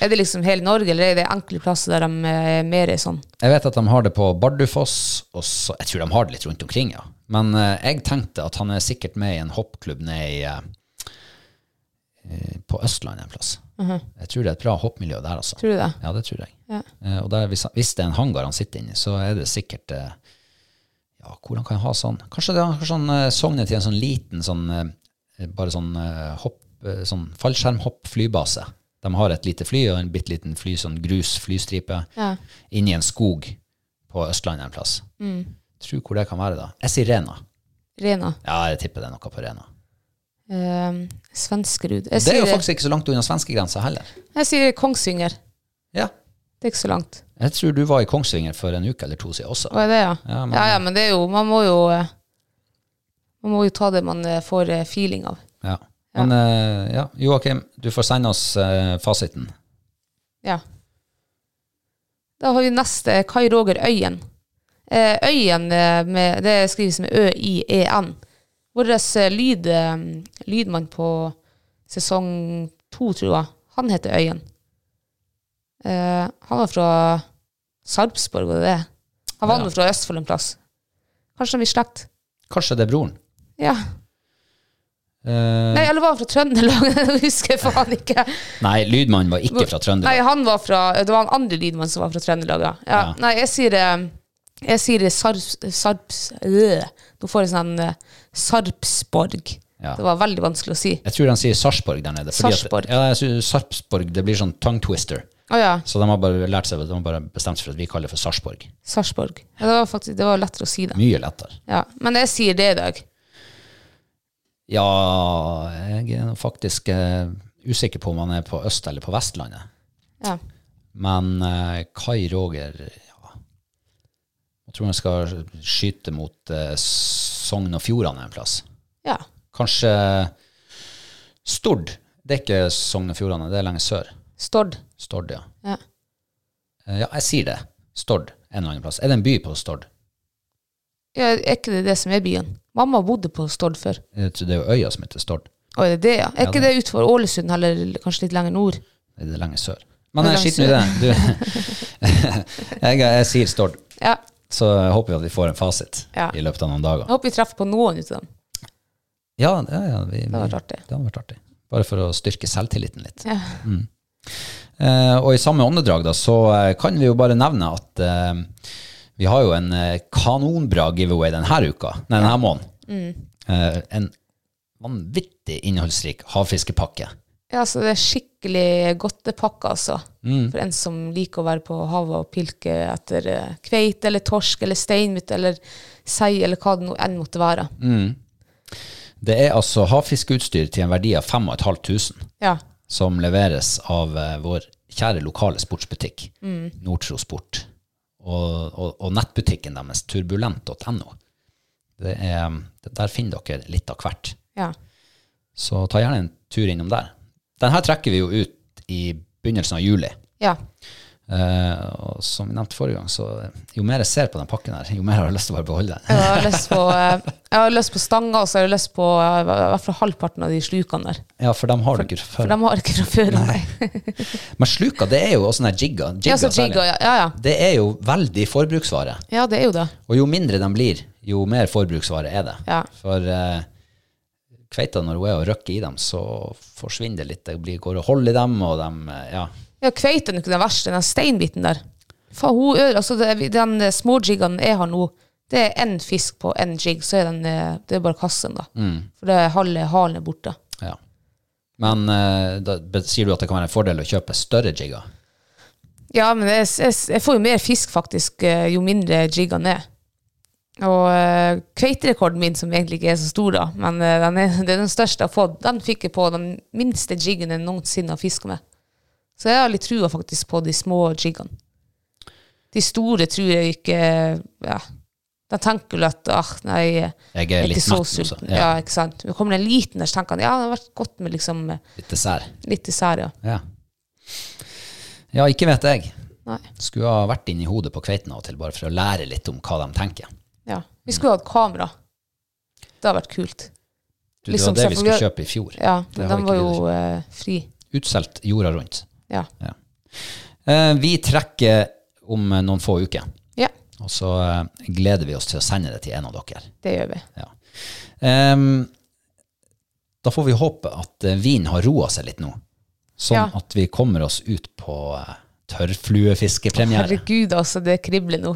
Speaker 2: Er det liksom hele Norge, eller er det enkle plasser der de eh, mer er sånn?
Speaker 1: Jeg vet at de har det på Bardufoss, og så, jeg tror de har det litt rundt omkring, ja. Men eh, jeg tenkte at han er sikkert med i en hoppklubb nede i, eh, eh, på Østlandet en plass. Jeg tror det er et bra hoppmiljø der, altså.
Speaker 2: Mhm. Tror du det?
Speaker 1: Ja, det tror jeg.
Speaker 2: Ja.
Speaker 1: Eh, og der, hvis, han- hvis det er en hangar han sitter inni, så er det sikkert eh, Ja, hvordan kan jeg ha sånn? Kanskje det er kanskje han eh, sogner til en sånn liten sånn eh, Bare sånn eh, hopp, eh, sånn fallskjermhopp-flybase. De har et lite fly og en bitte liten fly, sånn grus flystripe,
Speaker 2: Ja.
Speaker 1: inni en skog på Østlandet en plass.
Speaker 2: Mm.
Speaker 1: Tro hvor det kan være, da. Jeg sier Rena.
Speaker 2: Rena.
Speaker 1: Ja, jeg tipper det er noe på Rena.
Speaker 2: Eh, Svenskerud. Jeg
Speaker 1: Det er
Speaker 2: sier,
Speaker 1: jo faktisk ikke så langt unna svenskegrensa heller.
Speaker 2: jeg sier Kongsvinger.
Speaker 1: Ja.
Speaker 2: Det er ikke så langt.
Speaker 1: Jeg tror du var i Kongsvinger for en uke eller to siden også.
Speaker 2: Hva er det, ja?
Speaker 1: Ja, men-
Speaker 2: ja, ja, men det er jo Man må jo eh, Man må jo ta det man eh, får eh, feeling av.
Speaker 1: Ja. Men eh, ja, Joakim, du får sende oss eh, fasiten.
Speaker 2: Ja. Da har vi neste, Kai Roger Øyen. Eh, Øyen, eh, med, det skrives med Ø-I-E-N. Vår eh, lyd, eh, lydmann på sesong to, tror jeg, han heter Øyen. Eh, han var fra Sarpsborg, var det det? Han var
Speaker 1: Ja.
Speaker 2: nå fra Østfold en plass. Kanskje de er i slekt?
Speaker 1: Kanskje det er broren.
Speaker 2: Ja.
Speaker 1: Eh,
Speaker 2: Nei, eller var han fra Trøndelag? [LAUGHS] Det husker jeg faen ikke.
Speaker 1: nei, lydmannen var ikke fra
Speaker 2: Nei,
Speaker 1: Trøndelag.
Speaker 2: han var fra Det var han andre lydmann som var fra Trøndelag, ja. ja.
Speaker 1: Ja.
Speaker 2: Nei, jeg sier eh, Jeg sier Sarps... Sarps øh. Nå får jeg sånn eh, Sarpsborg.
Speaker 1: Ja.
Speaker 2: Det var veldig vanskelig å si.
Speaker 1: Jeg tror han sier Sarpsborg der nede. fordi at-
Speaker 2: Sarpsborg.
Speaker 1: Ja, jeg synes Sarpsborg, det blir sånn tongue twister.
Speaker 2: Å ja.
Speaker 1: Så de har bare lært seg, de har bare bestemt seg for at vi kaller det for Sarpsborg.
Speaker 2: Sarpsborg. Ja, det var faktisk Det var lettere å si det.
Speaker 1: Mye lettere.
Speaker 2: Ja. Men jeg sier det i dag.
Speaker 1: Ja, jeg er nå faktisk eh, usikker på om han er på Øst- eller på Vestlandet.
Speaker 2: Ja.
Speaker 1: Men eh, Kai Roger ja. Jeg tror han skal skyte mot eh, Sogn og Fjordane en plass.
Speaker 2: ja.
Speaker 1: Kanskje Stord. Det er ikke Sogn og Fjordane, det er lenger sør.
Speaker 2: Stord.
Speaker 1: Stord, ja.
Speaker 2: Ja.
Speaker 1: Eh, ja, jeg sier det. Stord en eller annen plass. Er det en by på Stord?
Speaker 2: ja. Er ikke det det som er byen? Mamma bodde på Stord før.
Speaker 1: Jeg tror Eh, Det er jo øya som heter Stord.
Speaker 2: Å, er det det, ja? Er ikke det utenfor Ålesund, eller kanskje litt lenger nord?
Speaker 1: Det er det lenger sør. Men
Speaker 2: Det er
Speaker 1: eh, skitt nå i det.
Speaker 2: lenger
Speaker 1: Du, [LAUGHS] jeg, jeg sier Stord.
Speaker 2: Ja.
Speaker 1: Så håper vi at vi får en fasit
Speaker 2: Ja.
Speaker 1: i løpet av noen
Speaker 2: Jeg
Speaker 1: dager.
Speaker 2: håper vi treffer på noen ut av dem.
Speaker 1: Ja, ja, ja vi,
Speaker 2: Det hadde vært artig.
Speaker 1: Det hadde vært artig. Bare for å styrke selvtilliten litt. Mm.
Speaker 2: Ja.
Speaker 1: Eh, og i samme åndedrag da, så eh, kan vi jo bare nevne at eh, vi har jo en eh, kanonbra giveaway denne uka, nei, denne måneden. Eh, en vanvittig innholdsrik havfiskepakke.
Speaker 2: Ja, så det er skikkelig godtepakke, altså. For en som liker å være på havet og pilke etter eh, kveit eller torsk eller steinmutt eller sei eller hva det nå enn måtte være.
Speaker 1: Det er altså havfiskeutstyr til en verdi av 5500,
Speaker 2: Ja.
Speaker 1: som leveres av eh, vår kjære lokale sportsbutikk,
Speaker 2: Mm.
Speaker 1: Nordtro Sport, og, og, og nettbutikken deres, turbulent.no. Det er, der finner dere litt av hvert.
Speaker 2: ja.
Speaker 1: Så ta gjerne en tur innom der. Den her trekker vi jo ut i begynnelsen av juli.
Speaker 2: Ja.
Speaker 1: Eh, og som vi nevnte forrige gang, så jo mer jeg ser på den pakken her, jo mer har jeg lyst til å bare beholde den.
Speaker 2: Jeg har lyst på, eh, jeg har lyst på stanger, og så har jeg lyst på eh, i hvert fall halvparten av de slukene der.
Speaker 1: Ja, for dem har du ikke
Speaker 2: For
Speaker 1: før.
Speaker 2: de har ikke fra før. Nei.
Speaker 1: Men sluka, det er jo også sånne her jigga.
Speaker 2: Ja,
Speaker 1: jigga
Speaker 2: så
Speaker 1: særlig.
Speaker 2: jigga, ja. Ja, ja.
Speaker 1: Det er jo veldig forbruksvare.
Speaker 2: ja, det er jo det.
Speaker 1: Og jo mindre den blir, jo mer forbruksvare er det.
Speaker 2: Ja.
Speaker 1: For eh, kveita, når hun er og røkker i dem, så forsvinner det litt. Det blir, går og holder i dem, og dem eh, Ja.
Speaker 2: Ja, kveiten er jo ikke den verste, den steinbiten der. Faen, hun øl, altså det, den eh, småjiggen jeg har nå, det er én fisk på én jig, så er den, eh, det er bare kassen, da. For det er halve halen er borte.
Speaker 1: Ja. Men eh, da be- sier du at det kan være en fordel å kjøpe større jigger?
Speaker 2: Ja, men jeg, jeg, jeg får jo mer fisk faktisk eh, jo mindre jiggen er. Og eh, kveiterekorden min, som egentlig ikke er så stor, da, men eh, den er, det er den største jeg har fått, den fikk jeg på den minste jiggen jeg noensinne har fisket med. Så jeg har litt trua faktisk på de små jiggene. De store tror jeg ikke ja. De tenker vel at ah, nei,
Speaker 1: Jeg
Speaker 2: jeg
Speaker 1: er
Speaker 2: er
Speaker 1: litt
Speaker 2: ikke så
Speaker 1: mett nå, så.
Speaker 2: sulten. Ja.
Speaker 1: Ja,
Speaker 2: ikke sant? Men kommer det en liten der, så tenker han ja, det har vært godt med liksom,
Speaker 1: litt dessert.
Speaker 2: litt dessert. Ja.
Speaker 1: Ja. ja, ikke vet jeg.
Speaker 2: Nei.
Speaker 1: Skulle ha vært inni hodet på kveiten av og til, bare for å lære litt om hva de tenker.
Speaker 2: Ja. Vi skulle hatt kamera. Det hadde vært kult.
Speaker 1: Du,
Speaker 2: Liksom,
Speaker 1: det var det vi
Speaker 2: så får vi-
Speaker 1: skulle kjøpe i fjor.
Speaker 2: Ja,
Speaker 1: Det
Speaker 2: men
Speaker 1: har
Speaker 2: de
Speaker 1: vi
Speaker 2: var
Speaker 1: ikke
Speaker 2: jo eh, fri.
Speaker 1: Utsolgt jorda rundt.
Speaker 2: Ja.
Speaker 1: Ja. Eh, vi trekker om eh, noen få uker,
Speaker 2: ja,
Speaker 1: og så eh, gleder vi oss til å sende det til en av dere.
Speaker 2: det gjør vi.
Speaker 1: Ja. Ehm, da får vi håpe at eh, vinen har roa seg litt nå, sånn
Speaker 2: Ja.
Speaker 1: at vi kommer oss ut på eh, tørrfluefiskepremiere.
Speaker 2: Herregud, altså, det kribler nå.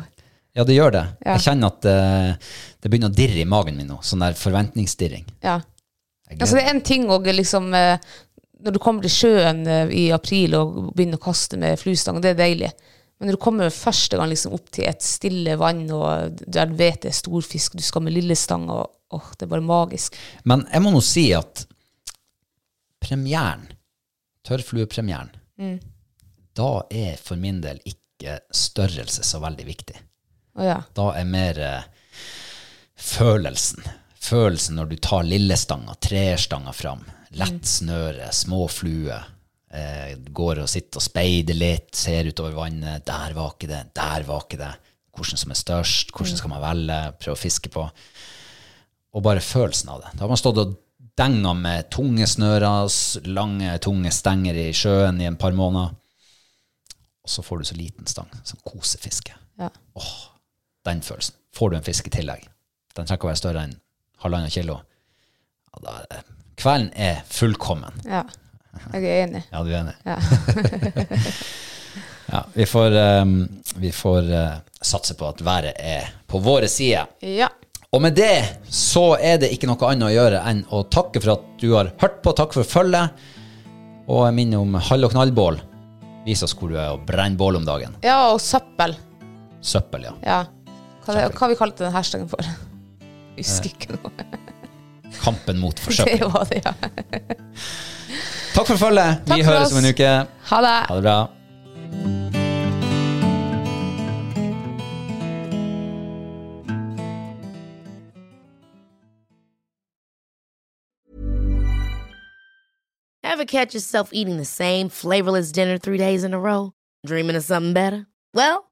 Speaker 1: Ja, det gjør det.
Speaker 2: Ja.
Speaker 1: Jeg kjenner at eh, det begynner å dirre i magen min nå, sånn der forventningsdirring.
Speaker 2: Ja.
Speaker 1: Jeg
Speaker 2: Altså,
Speaker 1: gleder
Speaker 2: det
Speaker 1: meg.
Speaker 2: er en ting òg, liksom eh, Når du kommer til sjøen eh, i april og begynner å kaste med fluestang, det er deilig. Men når du kommer første gang liksom opp til et stille vann, og du du vet det er stor fisk, du skal med lille stang, og åh, det er bare magisk.
Speaker 1: Men jeg må nå si at premieren, tørrfluepremieren, da er for min del ikke størrelse så veldig viktig.
Speaker 2: Å ja.
Speaker 1: Da er mer eh, følelsen. Følelsen når du tar lillestanga, treerstanga fram, lett snøre, små fluer, eh, går og sitter og speider litt, ser utover vannet, der var ikke det, der var ikke det. Hvordan som er størst, hvordan skal man velge, prøve å fiske på. Og bare følelsen av det. Da har man stått og denga med tunge snører, s- lange, tunge stenger i sjøen i en par måneder. Og så får du så liten stang som kosefiske
Speaker 2: ja.
Speaker 1: den følelsen. Får du en fisk i tillegg, den trenger ikke å være større enn halvannet kilo, ja, da er det. kvelden er fullkommen.
Speaker 2: ja. Jeg er enig.
Speaker 1: Ja, du er enig?
Speaker 2: Ja.
Speaker 1: [LAUGHS] Ja, vi får, eh, vi får eh, satse på at været er på våre sider.
Speaker 2: Ja.
Speaker 1: Og med det så er det ikke noe annet å gjøre enn å takke for at du har hørt på, takk for følget, og jeg minner om hall og knallbål. Vis oss hvor du er og brenn bål om dagen.
Speaker 2: ja, og søppel.
Speaker 1: Søppel, ja.
Speaker 2: Ja. Hva, det,
Speaker 1: Søppel.
Speaker 2: hva vi kalte den hashtagen for? Husker ikke noe.
Speaker 1: Kampen mot
Speaker 2: [LAUGHS] Det
Speaker 1: forsøpling.
Speaker 2: var det, ja.
Speaker 1: Takk for følget.
Speaker 2: Takk
Speaker 1: Vi
Speaker 2: for
Speaker 1: høres om
Speaker 2: oss.
Speaker 1: en uke.
Speaker 2: Ha det.
Speaker 1: Ha det bra.
Speaker 3: Ever catch yourself eating the same flavorless dinner three days in a row? Dreaming of something better? Well,